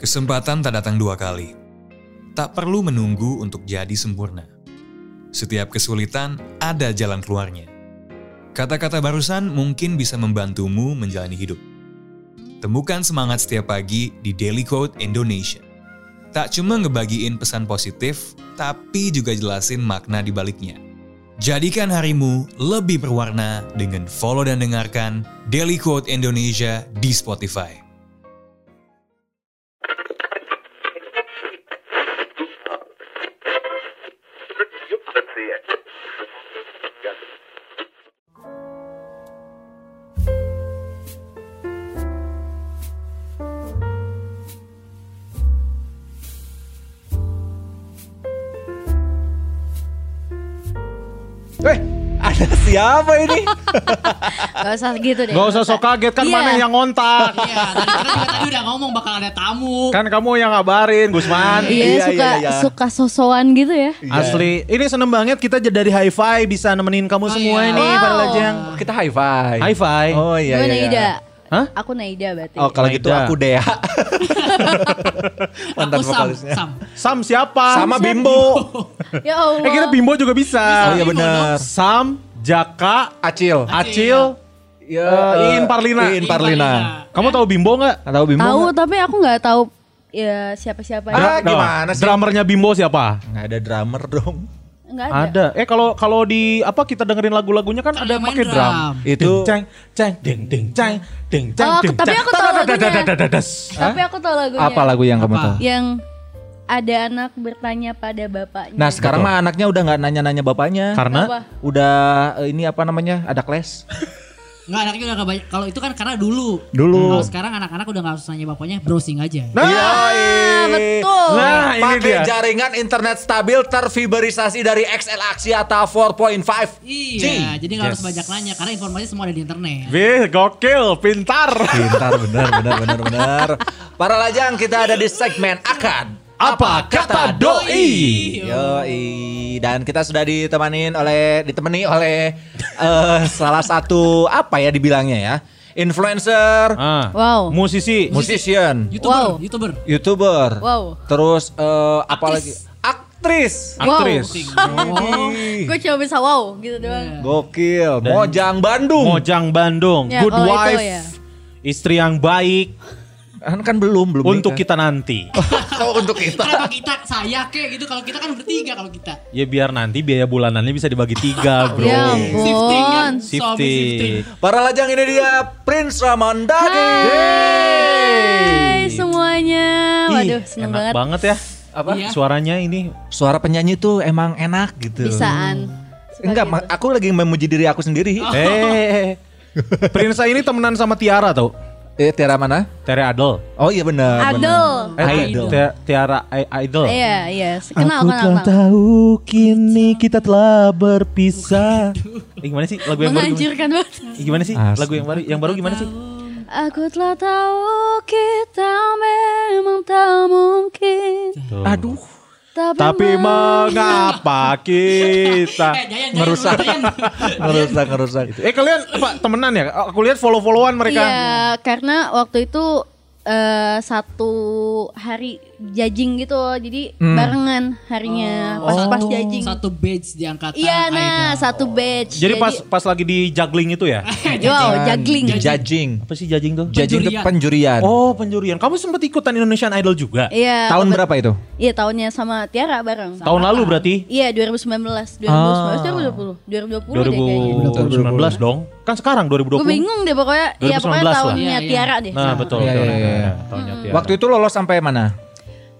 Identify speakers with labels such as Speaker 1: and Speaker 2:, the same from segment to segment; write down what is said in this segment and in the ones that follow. Speaker 1: Kesempatan tak datang dua kali. Tak perlu menunggu untuk jadi sempurna. Setiap kesulitan ada jalan keluarnya. Kata-kata barusan mungkin bisa membantumu menjalani hidup. Temukan semangat setiap pagi di Daily Quote Indonesia. Tak cuma ngebagiin pesan positif, tapi juga jelasin makna di baliknya. Jadikan harimu lebih berwarna dengan follow dan dengarkan Daily Quote Indonesia di Spotify.
Speaker 2: Eh, ada siapa ini?
Speaker 3: Gak usah gitu deh.
Speaker 2: Gak usah sok kaget kan
Speaker 3: Iya.
Speaker 2: mana yang ngontak.
Speaker 4: Iya, tadi, karena juga tadi udah ngomong bakal ada tamu.
Speaker 2: kan kamu yang ngabarin, Gusman.
Speaker 3: Iya, suka suka sosokan gitu ya.
Speaker 5: Iya.
Speaker 2: Asli, ini seneng banget kita j- dari hi-fi bisa nemenin kamu semua
Speaker 4: iya.
Speaker 2: ini
Speaker 3: Wow.
Speaker 2: para lajang.
Speaker 5: Kita high five.
Speaker 2: Hi-fi. Nah,
Speaker 5: Oh iya
Speaker 3: Gue
Speaker 5: iya. iya.
Speaker 3: Naida.
Speaker 2: Hah?
Speaker 3: Aku Naida berarti.
Speaker 5: Oh kalau gitu
Speaker 2: Naida.
Speaker 5: aku Dea. Mantan
Speaker 4: Aku Sam,
Speaker 5: vokalisnya.
Speaker 4: Sam.
Speaker 2: Sam siapa?
Speaker 5: Sama Bimbo.
Speaker 3: Ya Allah.
Speaker 2: Eh kita Bimbo juga bisa.
Speaker 4: Bisa,
Speaker 5: Oh iya
Speaker 4: Bimbo
Speaker 5: benar.
Speaker 2: Sam, Jaka,
Speaker 5: Acil.
Speaker 2: Acil.
Speaker 5: Ya,
Speaker 2: eh, Iin Parlina.
Speaker 5: Iin Parlina.
Speaker 4: Iya,
Speaker 2: Kamu tahu Bimbo nggak?
Speaker 5: Nggak Tahu Bimbo?
Speaker 3: Tahu
Speaker 5: nggak?
Speaker 3: tapi aku nggak tahu ya siapa-siapa.
Speaker 5: Ah,
Speaker 2: Nggak.
Speaker 5: gimana sih?
Speaker 2: Drummernya Bimbo siapa?
Speaker 5: Nggak ada drummer dong.
Speaker 3: Nggak ada.
Speaker 2: Ada. Eh kalau kalau di apa kita dengerin lagu-lagunya kan
Speaker 4: Kan
Speaker 2: ada
Speaker 4: yang main
Speaker 2: pakai drum.
Speaker 4: drum.
Speaker 5: Itu
Speaker 2: ceng ceng ding ding ceng ding ceng
Speaker 3: Oh, aku-
Speaker 2: ding
Speaker 3: tapi
Speaker 2: ceng.
Speaker 3: aku tahu lagunya.
Speaker 2: Dadadadadadadas.
Speaker 3: Tapi aku tahu lagunya.
Speaker 5: apa lagu yang kamu tahu?
Speaker 3: Yang ada anak bertanya pada bapaknya.
Speaker 5: Nah sekarang mah anaknya udah nggak nanya-nanya bapaknya.
Speaker 2: Karena
Speaker 3: Apa?
Speaker 5: Udah eh, ini apa namanya? Ada kelas.
Speaker 4: Enggak anaknya udah gak banyak. Kalau itu kan karena dulu.
Speaker 5: Dulu.
Speaker 4: Kalau sekarang anak-anak udah gak usah nanya bapaknya, browsing aja.
Speaker 2: Nah,
Speaker 3: Ah, betul.
Speaker 2: Nah, ini
Speaker 5: Pakai
Speaker 2: dia.
Speaker 5: jaringan internet stabil terfiberisasi dari XL Axiata 4.5.
Speaker 4: Iya, jadi gak harus
Speaker 2: Yes.
Speaker 4: banyak nanya karena informasi semua ada di internet.
Speaker 2: Wih, gokil, pintar.
Speaker 5: Pintar bener bener bener bener. Para lajang kita ada di segmen akan
Speaker 2: Apa kata doi?
Speaker 5: Yoi dan kita sudah ditemanin oleh ditemani oleh eh, salah satu apa ya dibilangnya ya influencer,
Speaker 2: Ah.
Speaker 3: Wow.
Speaker 2: Musisi.
Speaker 5: musician,
Speaker 4: YouTuber,
Speaker 3: Wow.
Speaker 4: YouTuber.
Speaker 5: youtuber,
Speaker 3: Wow.
Speaker 5: terus eh, apa lagi aktris,
Speaker 2: Aktris.
Speaker 3: Gue cuma bisa wow gitu
Speaker 5: Iya.
Speaker 3: doang.
Speaker 5: gokil, Mojang Bandung,
Speaker 2: Mojang Bandung.
Speaker 3: Ya,
Speaker 2: Good
Speaker 3: kalau itu
Speaker 2: wife.
Speaker 3: ya.
Speaker 2: Istri yang baik
Speaker 5: kan, kan belum belum
Speaker 2: untuk kita nanti.
Speaker 5: kalau untuk kita
Speaker 4: Kenapa kita saya kek gitu kalau kita kan bertiga kalau kita.
Speaker 2: ya biar nanti biaya bulanannya bisa dibagi tiga, bro.
Speaker 3: Ya
Speaker 4: Shifting kan,
Speaker 3: ampun.
Speaker 4: suami shifting.
Speaker 2: Shifting.
Speaker 5: para lajang ini dia Prince Ramandani.
Speaker 3: Hai semuanya. Waduh,
Speaker 2: Ih,
Speaker 3: seneng
Speaker 2: enak
Speaker 3: banget.
Speaker 2: ya. Apa?
Speaker 4: Iya.
Speaker 2: Suaranya ini
Speaker 5: suara penyanyi tuh emang enak gitu.
Speaker 3: Bisaan. Suka
Speaker 5: Enggak,
Speaker 3: gitu.
Speaker 5: ma- aku lagi memuji diri aku sendiri.
Speaker 2: Eh, Prinsa ini temenan sama Tiara tau.
Speaker 5: Eh, Tiara mana?
Speaker 2: Tere Adel.
Speaker 5: Oh iya benar.
Speaker 3: Adel.
Speaker 2: Eh,
Speaker 5: Idol.
Speaker 2: Ti- Tiara I- Idol.
Speaker 3: Iya, iya. Kenal,
Speaker 2: Aku
Speaker 3: kenal,
Speaker 2: telah
Speaker 3: kenal.
Speaker 2: tahu kini kita telah berpisah. Eh, gimana sih lagu yang baru? Gimana,
Speaker 3: Menghancurkan banget.
Speaker 2: Eh, gimana sih lagu yang baru? Yang baru gimana sih?
Speaker 3: Aku telah tahu kita memang tak mungkin.
Speaker 5: Aduh.
Speaker 3: Tapi,
Speaker 2: Tapi
Speaker 3: mau-
Speaker 2: mengapa kita?
Speaker 4: Eh, Jayan, Jayan,
Speaker 5: Merusak.
Speaker 4: Jayan.
Speaker 5: Ngerusak, ngerusak.
Speaker 2: Eh kalian apa temenan ya? Aku lihat follow-followan mereka.
Speaker 3: Iya, karena waktu itu eh, satu hari jajing gitu, jadi
Speaker 2: Hmm.
Speaker 3: barengan harinya
Speaker 2: Oh.
Speaker 3: pas-pas jajing.
Speaker 4: Satu badge diangkat.
Speaker 3: Iya, nah satu batch.
Speaker 2: Jadi pas pas lagi di juggling itu ya?
Speaker 3: wow, juggling.
Speaker 5: Judging.
Speaker 2: Apa sih juggling tuh?
Speaker 5: Judging itu penjurian.
Speaker 4: Penjurian.
Speaker 2: Oh, penjurian. Kamu sempat ikutan Indonesian Idol juga?
Speaker 3: Iya.
Speaker 5: tahun
Speaker 3: kebet-
Speaker 5: berapa itu?
Speaker 3: Iya, tahunnya sama Tiara bareng.
Speaker 2: ya? Tahun Ah. lalu berarti?
Speaker 3: Iya, 2019, 2019, 2020, 2020 deh kayaknya.
Speaker 2: 2019 dong. Kan sekarang 2020.
Speaker 3: Gue bingung deh pokoknya. Ya
Speaker 2: 2019
Speaker 3: pokoknya
Speaker 2: lah.
Speaker 3: tahunnya
Speaker 4: Iya, iya.
Speaker 3: Tiara deh.
Speaker 2: Nah,
Speaker 3: Nah,
Speaker 2: betul.
Speaker 5: Iya,
Speaker 2: betul,
Speaker 5: iya,
Speaker 2: betul,
Speaker 5: iya.
Speaker 2: Tahunnya Tiara.
Speaker 5: Waktu itu lolos sampai mana?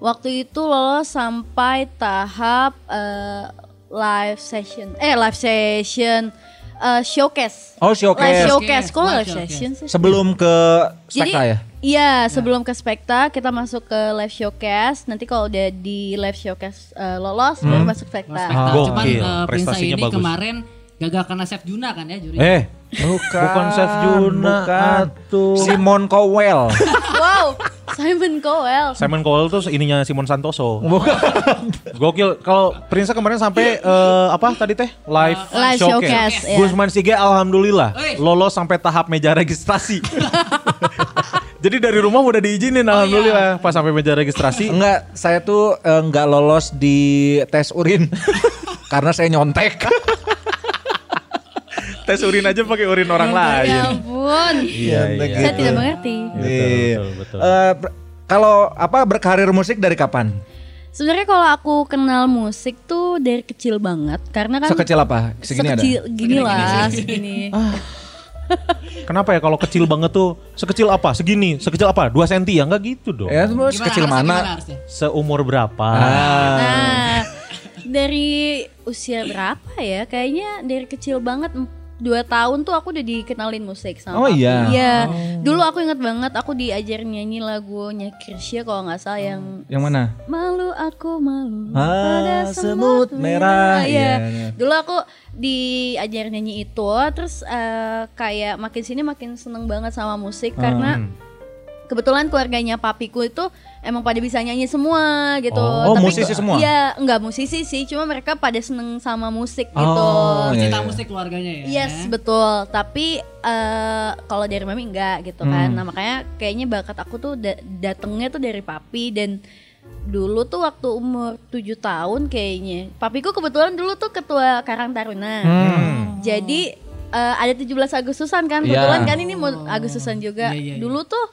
Speaker 3: Waktu itu lolos sampai tahap eh, live session. Eh, live session eh, showcase.
Speaker 5: Oh,
Speaker 3: Live
Speaker 5: showcase.
Speaker 3: showcase. Kok
Speaker 4: Live
Speaker 3: live
Speaker 4: showcase.
Speaker 3: session sih?
Speaker 5: Sebelum ke
Speaker 3: Jadi
Speaker 5: Spekta ya?
Speaker 3: Iya, sebelum ke Spekta kita masuk ke live showcase. Nanti kalau udah di live showcase eh, lolos baru masuk Spekta.
Speaker 4: Spekta.
Speaker 2: Oh,
Speaker 4: Nah, Cuman
Speaker 2: gokil.
Speaker 4: eh, Prinsa
Speaker 2: Prestasinya
Speaker 4: ini
Speaker 2: bagus.
Speaker 4: kemarin gagal karena Chef Juna kan ya juri.
Speaker 5: Eh,
Speaker 2: Bukan, Chef Juna, atuh.
Speaker 5: Simon Cowell.
Speaker 3: wow, Simon Cowell.
Speaker 2: Simon Cowell tuh ininya Simon Santoso. Gokil. Kalau Prinsa kemarin sampai eh, apa tadi teh live,
Speaker 3: Live showcase, ya.
Speaker 2: Gusman Sige alhamdulillah
Speaker 4: Wih.
Speaker 2: lolos sampai tahap meja registrasi. Jadi dari rumah udah diizinin alhamdulillah pas sampai meja registrasi.
Speaker 5: Enggak, saya tuh eh, enggak lolos di tes urin karena saya nyontek.
Speaker 2: tes urin aja pakai urin orang lain.
Speaker 3: Ya ampun.
Speaker 2: Iya, iya.
Speaker 3: Saya tidak mengerti.
Speaker 5: Iya.
Speaker 2: betul, betul.
Speaker 5: Eh, ber- kalau apa berkarir musik dari kapan?
Speaker 3: Sebenarnya kalau aku kenal musik tuh dari kecil banget karena kan
Speaker 5: Sekecil apa? Segini
Speaker 3: sekecil
Speaker 5: ada.
Speaker 3: gini lah segini.
Speaker 2: Kenapa ya kalau kecil banget tuh sekecil apa? Segini, sekecil apa? 2 senti ya enggak gitu dong.
Speaker 5: Ya, Ah. terus
Speaker 4: Gimana
Speaker 5: sekecil
Speaker 4: harusnya,
Speaker 5: mana?
Speaker 4: gimana harusnya?
Speaker 2: Seumur berapa?
Speaker 3: Nah, dari usia berapa ya? Kayaknya dari kecil banget em- dua tahun tuh aku udah dikenalin musik
Speaker 5: Oh,
Speaker 3: sama papi.
Speaker 5: iya.
Speaker 3: Dulu aku inget banget aku diajarin nyanyi lagunya Krisya kalau nggak salah yang
Speaker 5: Oh. Yang mana?
Speaker 3: Malu aku malu
Speaker 5: Ah,
Speaker 3: pada
Speaker 5: semut
Speaker 3: semut
Speaker 5: merah.
Speaker 3: merah. Iya.
Speaker 5: Iya.
Speaker 3: Dulu aku diajar nyanyi itu, terus eh, kayak makin sini makin seneng banget sama musik
Speaker 5: Ah.
Speaker 3: karena kebetulan keluarganya papiku itu emang pada bisa nyanyi semua gitu.
Speaker 5: Oh, musisi semua?
Speaker 3: Iya, enggak musisi sih, cuma mereka pada seneng sama musik gitu.
Speaker 5: Oh, iya,
Speaker 4: Cinta
Speaker 5: iya.
Speaker 4: musik keluarganya ya.
Speaker 3: Yes betul, tapi eh, kalau dari mami enggak gitu
Speaker 5: Hmm.
Speaker 3: kan. Nah makanya kayaknya bakat aku tuh da- datengnya tuh dari papi dan dulu tuh waktu umur 7 tahun kayaknya. Papiku kebetulan dulu tuh ketua Karang Taruna. Jadi eh, ada 17 Agustusan kan,
Speaker 5: Hmm. Iya. Oh.
Speaker 3: kebetulan kan ini mau Agustusan juga.
Speaker 4: Iya, iya, iya.
Speaker 3: Dulu tuh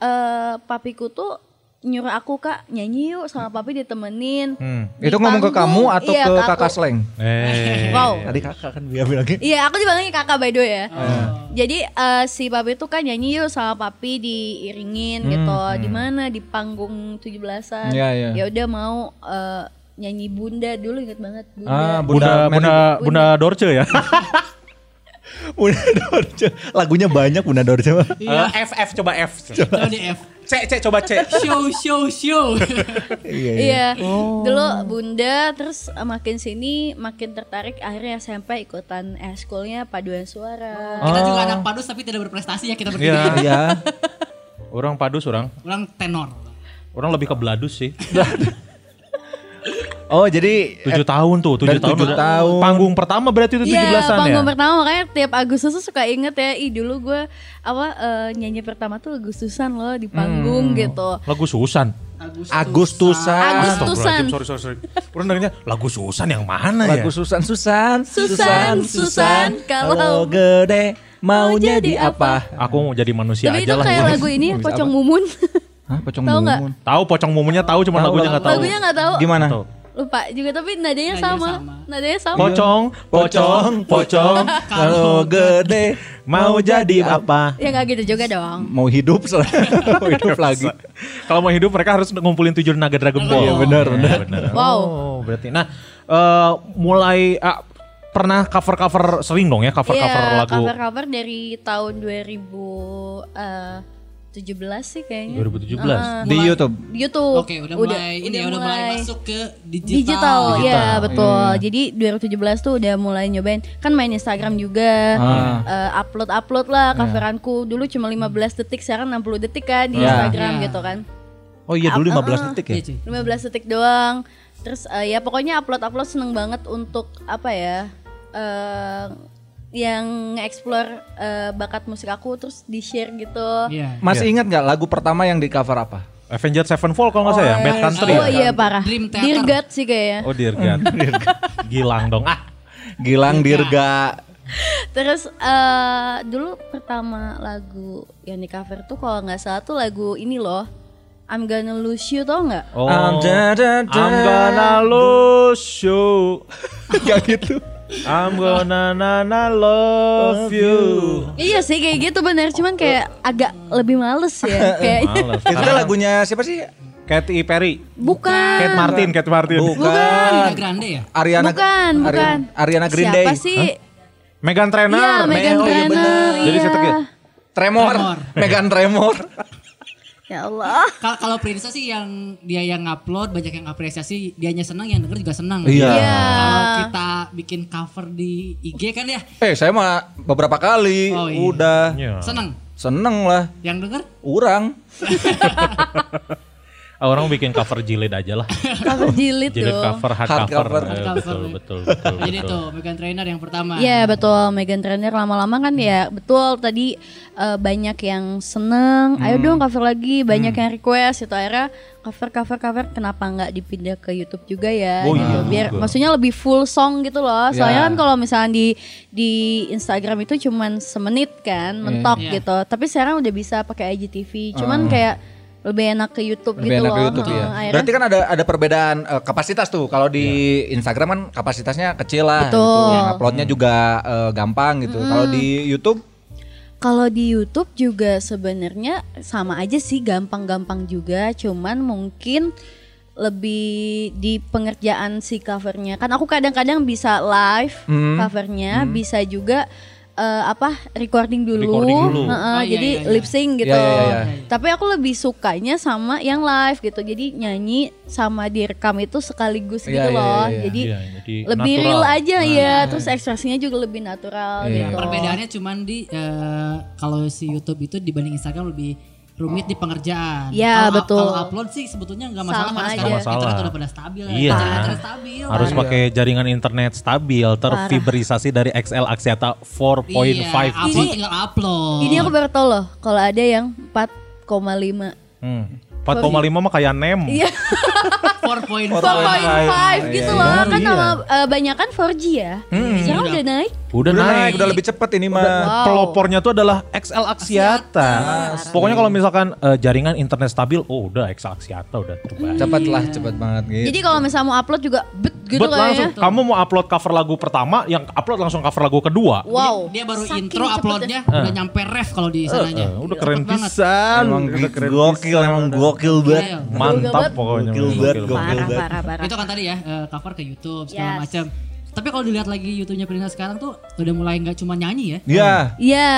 Speaker 3: eh, papiku tuh nyuruh aku kak nyanyi yuk sama papi ditemenin. Di
Speaker 5: Hmm. Itu ngomong ke kamu
Speaker 6: Oh,
Speaker 3: panggung.
Speaker 5: atau
Speaker 3: Iya,
Speaker 5: ke
Speaker 3: aku.
Speaker 5: kakak Sleng?
Speaker 2: Eh.
Speaker 3: Wow.
Speaker 5: Tadi kakak kan dia Oh. bilangnya.
Speaker 3: Iya, aku dipanggilnya kakak by the way ya. Jadi eh, si papi tuh kan nyanyi yuk sama papi diiringin gitu. Di mana di panggung 17-an.
Speaker 5: Hmm, Iya, iya.
Speaker 3: Ya udah mau eh, nyanyi Bunda dulu inget banget
Speaker 5: Ah,
Speaker 3: Bunda.
Speaker 5: Bunda,
Speaker 2: Bunda, Bunda, Bunda Dorce ya.
Speaker 5: Bunda Dorce. Lagunya banyak Bunda Dorce.
Speaker 2: Iya, F F coba F.
Speaker 4: Coba di F.
Speaker 2: C C coba C.
Speaker 4: Show show show.
Speaker 3: Iya.
Speaker 5: Oh.
Speaker 3: Dulu Bunda terus eh, makin sini makin tertarik akhirnya SMP ikutan eskulnya paduan suara.
Speaker 4: Kita juga anak padus tapi tidak berprestasi ya kita
Speaker 2: Iya.
Speaker 4: bertiga.
Speaker 5: Iya.
Speaker 2: Orang Padus orang.
Speaker 4: Orang tenor.
Speaker 2: Orang lebih ke Bladus sih.
Speaker 5: Oh, jadi
Speaker 2: Tujuh tahun tuh, tujuh
Speaker 5: Dari
Speaker 2: tahun.
Speaker 5: tujuh
Speaker 2: udah-
Speaker 5: tahun.
Speaker 2: Panggung pertama berarti itu tujuh
Speaker 3: Iya,
Speaker 2: belasan ya.
Speaker 3: panggung pertama makanya tiap Agustus tuh suka inget ya, ih dulu gue apa eh, nyanyi pertama tuh Agustusan loh di
Speaker 2: Hmm.
Speaker 3: panggung gitu.
Speaker 2: Lagu Susan.
Speaker 4: Agustus.
Speaker 5: Agustusan.
Speaker 3: Agustusan.
Speaker 2: Sorry sorry sorry. Orang dengernya lagu Susan yang mana ya?
Speaker 5: Lagu Susan Susan
Speaker 3: Susan, Susan, kalau
Speaker 5: gede mau
Speaker 3: mau
Speaker 5: jadi
Speaker 3: jadi
Speaker 5: apa?
Speaker 2: Aku mau jadi manusia
Speaker 3: Tapi
Speaker 2: aja
Speaker 3: itu
Speaker 2: lah.
Speaker 3: kayak
Speaker 2: gua. Hmm.
Speaker 3: lagu ini ya, Pocong Mumun.
Speaker 5: Hah, pocong
Speaker 3: Tahu nggak?
Speaker 5: mumun.
Speaker 2: Tahu pocong mumunya tahu cuman
Speaker 5: Tahu,
Speaker 2: lagunya
Speaker 5: lagu-
Speaker 2: nggak tahu.
Speaker 3: Lagunya nggak tahu.
Speaker 5: Gimana? Iya.
Speaker 2: Tahu.
Speaker 3: Lupa juga tapi nadanya
Speaker 4: Nadanya
Speaker 3: sama.
Speaker 4: sama.
Speaker 3: Nadanya sama.
Speaker 2: Pocong, pocong, pocong.
Speaker 5: Kalau gede
Speaker 2: Mau jadi apa?
Speaker 3: Ya nggak gitu juga dong.
Speaker 5: Mau hidup soalnya.
Speaker 2: Oh, iya,
Speaker 5: mau hidup lagi.
Speaker 2: Kalau mau hidup mereka harus ngumpulin tujuh naga Dragon Ball.
Speaker 5: Iya, benar, benar.
Speaker 3: Wow.
Speaker 2: Oh, berarti. Nah, eh, mulai ah, pernah cover-cover sering dong ya cover-cover
Speaker 3: Iya,
Speaker 2: lagu
Speaker 3: cover-cover dari tahun 2017 sih kayaknya. Ah.
Speaker 2: 2017.
Speaker 5: Di YouTube.
Speaker 3: Di YouTube.
Speaker 4: Oke, udah, mulai ini ya, udah mulai masuk ke digital.
Speaker 3: digital. Iya, betul. Jadi 2017 tuh udah mulai nyobain kan main Instagram juga.
Speaker 5: Ah.
Speaker 3: eh, upload-upload lah coveranku. Dulu cuma 15 detik, sekarang 60 detik kan di
Speaker 5: Iya.
Speaker 3: Instagram
Speaker 4: Iya.
Speaker 3: gitu kan.
Speaker 5: Oh iya
Speaker 3: Ah,
Speaker 5: dulu 15 detik ya.
Speaker 4: Iya, cuy.
Speaker 3: 15 detik doang. Terus eh, ya pokoknya upload-upload seneng banget untuk apa ya? eh, yang explore bakat musik aku terus di-share gitu.
Speaker 4: Iya.
Speaker 5: Masih ingat nggak lagu pertama yang di cover apa?
Speaker 2: Avengers Sevenfold kalau nggak saya, Mad Country. ya?
Speaker 3: Oh iya parah.
Speaker 4: Dream Theater.
Speaker 3: Dirgat sih kayaknya.
Speaker 2: Oh dear God. Gilang dong. Ah,
Speaker 5: Gilang Dirga.
Speaker 3: Terus eh dulu pertama lagu yang di cover tuh kalau nggak salah tuh lagu ini loh. I'm gonna lose you tau nggak?
Speaker 2: oh.
Speaker 5: I'm da- da- da-
Speaker 2: I'm gonna lose you.
Speaker 5: Yang itu.
Speaker 2: I'm gonna na na love you.
Speaker 3: Iya sih kayak gitu bener cuman kayak agak lebih males ya kayaknya.
Speaker 2: Males.
Speaker 5: Itu kan lagunya siapa sih?
Speaker 2: Katy Perry.
Speaker 3: Bukan.
Speaker 2: Kate Martin, Kate Martin.
Speaker 4: Ariana
Speaker 5: Bukan.
Speaker 4: Grande ya?
Speaker 5: Ariana
Speaker 3: Bukan,
Speaker 5: Ari-
Speaker 3: bukan.
Speaker 5: Ariana Green Day.
Speaker 3: Siapa sih? Iya,
Speaker 2: Megan Trainor.
Speaker 3: Megan
Speaker 5: oh iya
Speaker 3: Trainor.
Speaker 5: bener.
Speaker 3: Iya.
Speaker 2: Jadi saya tegak.
Speaker 5: Tremor.
Speaker 4: Tremor.
Speaker 5: Megan Tremor.
Speaker 3: Ya Allah.
Speaker 4: Kal- Kalau Prinsa sih yang dia yang upload banyak yang apresiasi, dianya senang, yang denger juga senang.
Speaker 6: Iya.
Speaker 3: Iya.
Speaker 4: Kalau kita bikin cover di IG kan ya,
Speaker 6: Eh saya mah beberapa kali
Speaker 4: Oh, iya.
Speaker 6: udah
Speaker 4: senang.
Speaker 6: seneng lah
Speaker 4: Yang denger
Speaker 6: orang.
Speaker 2: Ah, Orang bikin cover jilid aja lah.
Speaker 3: Cover jilid
Speaker 2: Jilid
Speaker 3: tuh.
Speaker 2: cover, hard,
Speaker 6: Hard
Speaker 2: cover.
Speaker 6: cover.
Speaker 2: Eh,
Speaker 4: Hard cover.
Speaker 2: betul, betul, betul,
Speaker 4: Jadi
Speaker 2: betul.
Speaker 4: tuh Megan Trainer yang pertama.
Speaker 3: Iya betul Megan Trainor lama-lama kan ya
Speaker 6: Hmm.
Speaker 3: betul tadi eh, banyak yang seneng
Speaker 6: Hmm.
Speaker 3: ayo dong cover lagi banyak yang request itu akhirnya cover cover cover kenapa nggak dipindah ke YouTube juga ya
Speaker 7: Oh,
Speaker 3: gitu.
Speaker 7: iya
Speaker 3: biar
Speaker 7: juga.
Speaker 3: maksudnya lebih full song gitu loh soalnya
Speaker 6: Ya.
Speaker 3: kan kalau misalnya di di Instagram itu cuman semenit kan
Speaker 6: Hmm.
Speaker 3: mentok
Speaker 4: Iya.
Speaker 3: gitu tapi sekarang udah bisa pakai IGTV cuman kayak lebih enak ke YouTube
Speaker 6: Hmm. Lebih
Speaker 3: gitu
Speaker 6: enak ke
Speaker 3: loh
Speaker 6: YouTube
Speaker 5: iya.
Speaker 3: Heeh,
Speaker 6: ya.
Speaker 3: akhirnya-
Speaker 6: Berarti kan ada ada perbedaan eh, kapasitas tuh. Kalau di
Speaker 5: Iya.
Speaker 6: Instagram kan kapasitasnya kecil lah. gitu.
Speaker 3: Betul.
Speaker 6: Yang Uploadnya juga eh, gampang gitu. Kalau di YouTube
Speaker 3: Kalau di YouTube juga sebenarnya sama aja sih gampang-gampang juga, cuman mungkin lebih di pengerjaan si covernya. Kan aku kadang-kadang bisa live
Speaker 6: Hmm.
Speaker 3: covernya, bisa juga eh, apa recording dulu,
Speaker 2: Recording dulu.
Speaker 3: Heeh,
Speaker 4: Oh, iya,
Speaker 3: jadi
Speaker 4: iya, iya.
Speaker 3: lip sync gitu.
Speaker 6: Iya, iya, iya.
Speaker 3: Tapi aku lebih sukanya sama yang live gitu. Jadi nyanyi sama direkam itu sekaligus
Speaker 6: Iya,
Speaker 3: gitu
Speaker 6: iya,
Speaker 3: loh.
Speaker 6: iya, iya.
Speaker 3: Jadi
Speaker 2: Iya, jadi
Speaker 3: lebih
Speaker 2: natural.
Speaker 3: real aja ya, terus ekspresinya juga lebih natural
Speaker 6: Iya.
Speaker 3: gitu.
Speaker 4: Nah. Perbedaannya cuman di eh, kalau si YouTube itu dibanding Instagram lebih rumit di pengerjaan.
Speaker 3: Ya,
Speaker 4: Kalau up-
Speaker 3: betul.
Speaker 4: Kalau upload sih sebetulnya nggak masalah
Speaker 3: Sama
Speaker 4: karena
Speaker 3: aja.
Speaker 4: sekarang
Speaker 2: Nggak masalah.
Speaker 4: internet udah pada stabil. ya.
Speaker 2: Iya.
Speaker 4: Jaringan stabil.
Speaker 2: Harus pakai jaringan internet stabil, terfiberisasi dari XL Axiata 4.5.
Speaker 4: Iya, upload
Speaker 3: Ini-
Speaker 4: tinggal upload.
Speaker 3: Ini aku baru tau loh kalau ada yang 4,5
Speaker 2: Hmm. 4,5 mah kayak nem.
Speaker 3: Iya 4,5 gitu loh Kan sama eh, banyak kan 4G ya Sekarang udah naik
Speaker 2: Udah,
Speaker 6: udah
Speaker 2: naik.
Speaker 6: naik, udah lebih cepet ini mah.
Speaker 3: Wow.
Speaker 2: Pelopornya tuh adalah XL Axiata. Pokoknya kalau misalkan eh, jaringan internet stabil, oh udah XL Axiata udah terbaik.
Speaker 6: Cepet lah, cepet banget gitu.
Speaker 3: Jadi kalau misalnya mau upload juga bet gitu
Speaker 2: But
Speaker 3: kayaknya
Speaker 2: langsung kamu mau upload cover lagu pertama, yang upload langsung cover lagu kedua.
Speaker 3: Wow
Speaker 4: Dia baru
Speaker 3: Saking
Speaker 4: intro
Speaker 3: cepetnya.
Speaker 4: uploadnya udah nyampe ref kalau di sananya.
Speaker 2: Eh, udah keren
Speaker 4: Cepet banget.
Speaker 2: pisan.
Speaker 6: emang
Speaker 2: Udah
Speaker 6: gitu,
Speaker 2: keren
Speaker 6: gokil, emang gokil banget.
Speaker 4: Iya.
Speaker 2: Mantap pokoknya.
Speaker 6: Gokil banget, gokil.
Speaker 3: Parah
Speaker 6: banget.
Speaker 3: parah parah
Speaker 4: Itu kan tadi ya eh, cover ke YouTube segala
Speaker 3: Yes.
Speaker 4: macam. Tapi kalau dilihat lagi YouTube-nya Prina sekarang tuh udah mulai nggak cuma nyanyi ya.
Speaker 6: Iya.
Speaker 3: Iya,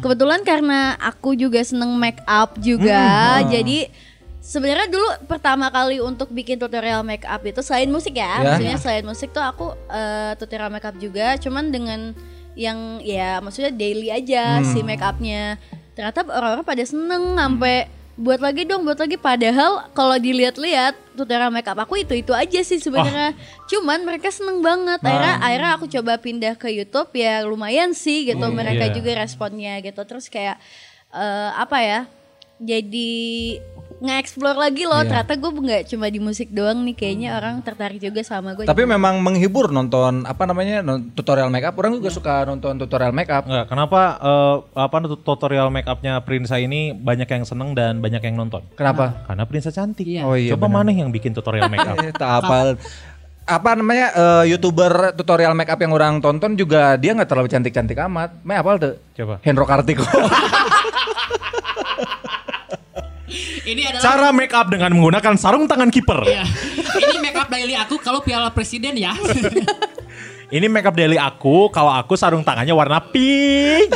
Speaker 3: kebetulan karena aku juga seneng make up juga, jadi sebenarnya dulu pertama kali untuk bikin tutorial make up itu selain musik ya,
Speaker 6: Ya.
Speaker 3: maksudnya selain musik tuh aku eh, tutorial make up juga, cuman dengan yang ya maksudnya daily aja si make upnya. Ternyata orang-orang pada seneng sampai buat lagi dong, buat lagi. Padahal kalau dilihat-lihat tutorial make up aku itu itu aja sih sebenarnya. Cuman mereka seneng banget. Akhirnya, akhirnya aku coba pindah ke YouTube ya lumayan sih gitu. mereka
Speaker 2: Iya.
Speaker 3: juga responnya gitu. Terus kayak eh, apa ya? Jadi nge-explore lagi loh. Ternyata gue nggak cuma di musik doang nih. Kayaknya orang tertarik juga sama gue.
Speaker 6: Tapi memang menghibur nonton apa namanya non- tutorial makeup. Orang
Speaker 4: Iya.
Speaker 6: juga suka nonton tutorial makeup.
Speaker 2: Enggak, kenapa eh, apa tut- tutorial make upnya Prinsa ini banyak yang seneng dan banyak yang nonton?
Speaker 6: Kenapa?
Speaker 2: Karena Prinsa cantik.
Speaker 4: Iya.
Speaker 6: Oh iya,
Speaker 2: Coba mana yang bikin tutorial make up?
Speaker 6: Eh, tak apal. Apa namanya eh, youtuber tutorial makeup yang orang tonton juga dia nggak terlalu cantik-cantik amat. Me apal tuh?
Speaker 2: Coba.
Speaker 6: Hendro Kartiko.
Speaker 4: Ini adalah
Speaker 2: Cara make up dengan menggunakan sarung tangan kiper.
Speaker 4: Iya. Ini make up daily aku kalau piala presiden ya.
Speaker 2: Ini make up daily aku. Kalau aku sarung tangannya warna pink.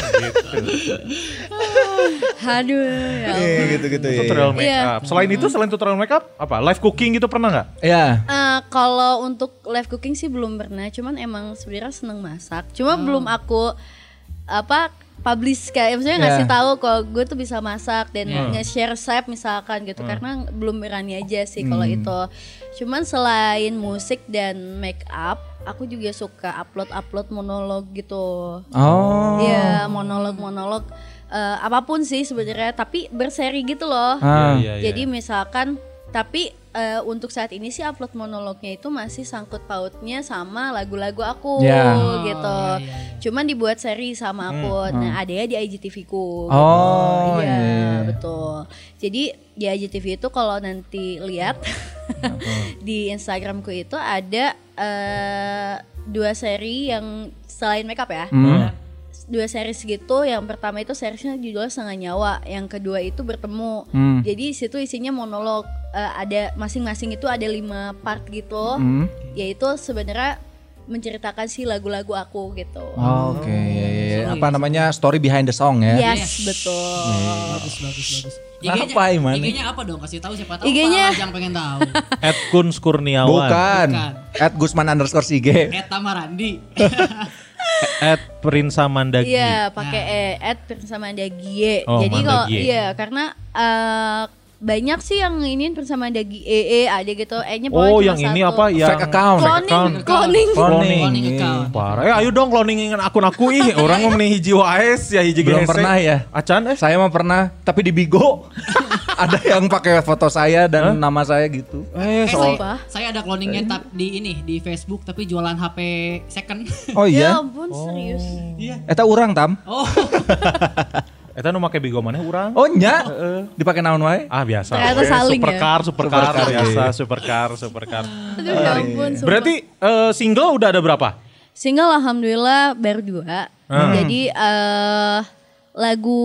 Speaker 3: Aduh ya Allah.
Speaker 6: gitu-gitu
Speaker 2: tutorial make
Speaker 3: Iya.
Speaker 2: up. Selain itu, selain tutorial make up, apa? Live cooking gitu pernah nggak?
Speaker 6: Ya.
Speaker 3: Eh, kalau untuk live cooking sih belum pernah, cuman emang sebenarnya seneng masak. Cuma
Speaker 6: Oh.
Speaker 3: belum aku apa publish kayak maksudnya ngasih
Speaker 6: Yeah.
Speaker 3: tahu kalau gue tuh bisa masak dan nge-share resep misalkan gitu karena belum berani aja sih kalau
Speaker 6: Hmm.
Speaker 3: itu. Cuman selain musik dan make up, aku juga suka upload-upload monolog gitu.
Speaker 6: Oh.
Speaker 3: Iya, monolog-monolog eh, apapun sih sebenarnya, tapi berseri gitu loh.
Speaker 6: Ah.
Speaker 2: iya,
Speaker 5: Iya,
Speaker 3: Jadi misalkan tapi eh, untuk saat ini sih upload monolognya itu masih sangkut pautnya sama lagu-lagu aku
Speaker 6: Ya.
Speaker 3: gitu.
Speaker 4: Oh, iya, iya.
Speaker 3: Cuman dibuat seri sama aku. Nah, adanya di IGTV ku. iya,
Speaker 6: Oh, iya, iya.
Speaker 3: betul. Jadi di IGTV itu kalau nanti lihat di Instagramku itu ada eh, dua seri yang selain makeup ya
Speaker 2: Iya.
Speaker 6: Hmm.
Speaker 3: dua series gitu yang pertama itu seriesnya judulnya setengah nyawa yang kedua itu bertemu
Speaker 6: Hmm.
Speaker 3: jadi situ isinya monolog Eh, ada masing-masing itu ada lima part gitu
Speaker 6: Hmm.
Speaker 3: yaitu sebenarnya menceritakan si lagu-lagu aku gitu.
Speaker 6: Oke, ya, ya, ya.
Speaker 4: iya,
Speaker 6: apa namanya story behind the song ya?
Speaker 3: Yes, betul.
Speaker 4: Bagus bagus bagus.
Speaker 6: Apa, Iman?
Speaker 4: IG-nya apa dong? Kasih tahu siapa tahu.
Speaker 3: IG-nya.
Speaker 4: Pak Ajang pengen tahu.
Speaker 2: Ed Kun Skurniawan.
Speaker 6: Bukan.
Speaker 4: Bukan.
Speaker 6: At Gusman underscore Sige.
Speaker 4: Eh Tamarandi.
Speaker 2: Ed Prinsa Mandagi.
Speaker 3: Iya, pakai e, at persamaan dia gie.
Speaker 2: Oh,
Speaker 3: E. Jadi
Speaker 2: Manda
Speaker 3: kalau
Speaker 2: Gie.
Speaker 3: iya karena eh, banyak sih yang ingin persamaan dia gie e ada gitu. E-nya pokoknya
Speaker 2: Oh
Speaker 3: cuma
Speaker 2: yang ini
Speaker 3: satu.
Speaker 2: apa? Yang
Speaker 6: Fake account.
Speaker 3: Cloning,
Speaker 4: account.
Speaker 3: cloning.
Speaker 6: Cloning.
Speaker 4: Cloning account.
Speaker 2: Parah. Eh ayo dong cloning akun aku ih. Orang mau nih hiji AS ya hiji
Speaker 6: Belum
Speaker 2: gesek.
Speaker 6: pernah ya?
Speaker 2: Acan eh.
Speaker 6: Saya mah pernah, tapi di Bigo ada yang pakai foto saya dan nama saya gitu.
Speaker 2: Eh
Speaker 4: Eh,
Speaker 2: soal Eh.
Speaker 3: Apa?
Speaker 4: saya, saya ada cloningnya tap di ini di Facebook tapi jualan HP second.
Speaker 6: Oh
Speaker 3: Ya
Speaker 6: iya.
Speaker 3: ampun serius.
Speaker 6: Ya. Eta urang tam.
Speaker 4: oh,
Speaker 2: Eta nu make bigo mana urang?
Speaker 6: Oh nya. Dipakai naon wae?
Speaker 2: Ah biasa.
Speaker 3: Ternyata
Speaker 2: we.
Speaker 3: saling ya.
Speaker 2: supercar, supercar, iya.
Speaker 6: Supercar,
Speaker 2: biasa, supercar, supercar.
Speaker 3: Aduh,
Speaker 6: Iya.
Speaker 3: ya ampun. sumpah.
Speaker 2: Berarti eh, single udah ada berapa?
Speaker 3: single alhamdulillah baru dua.
Speaker 2: Hmm.
Speaker 3: Jadi eh lagu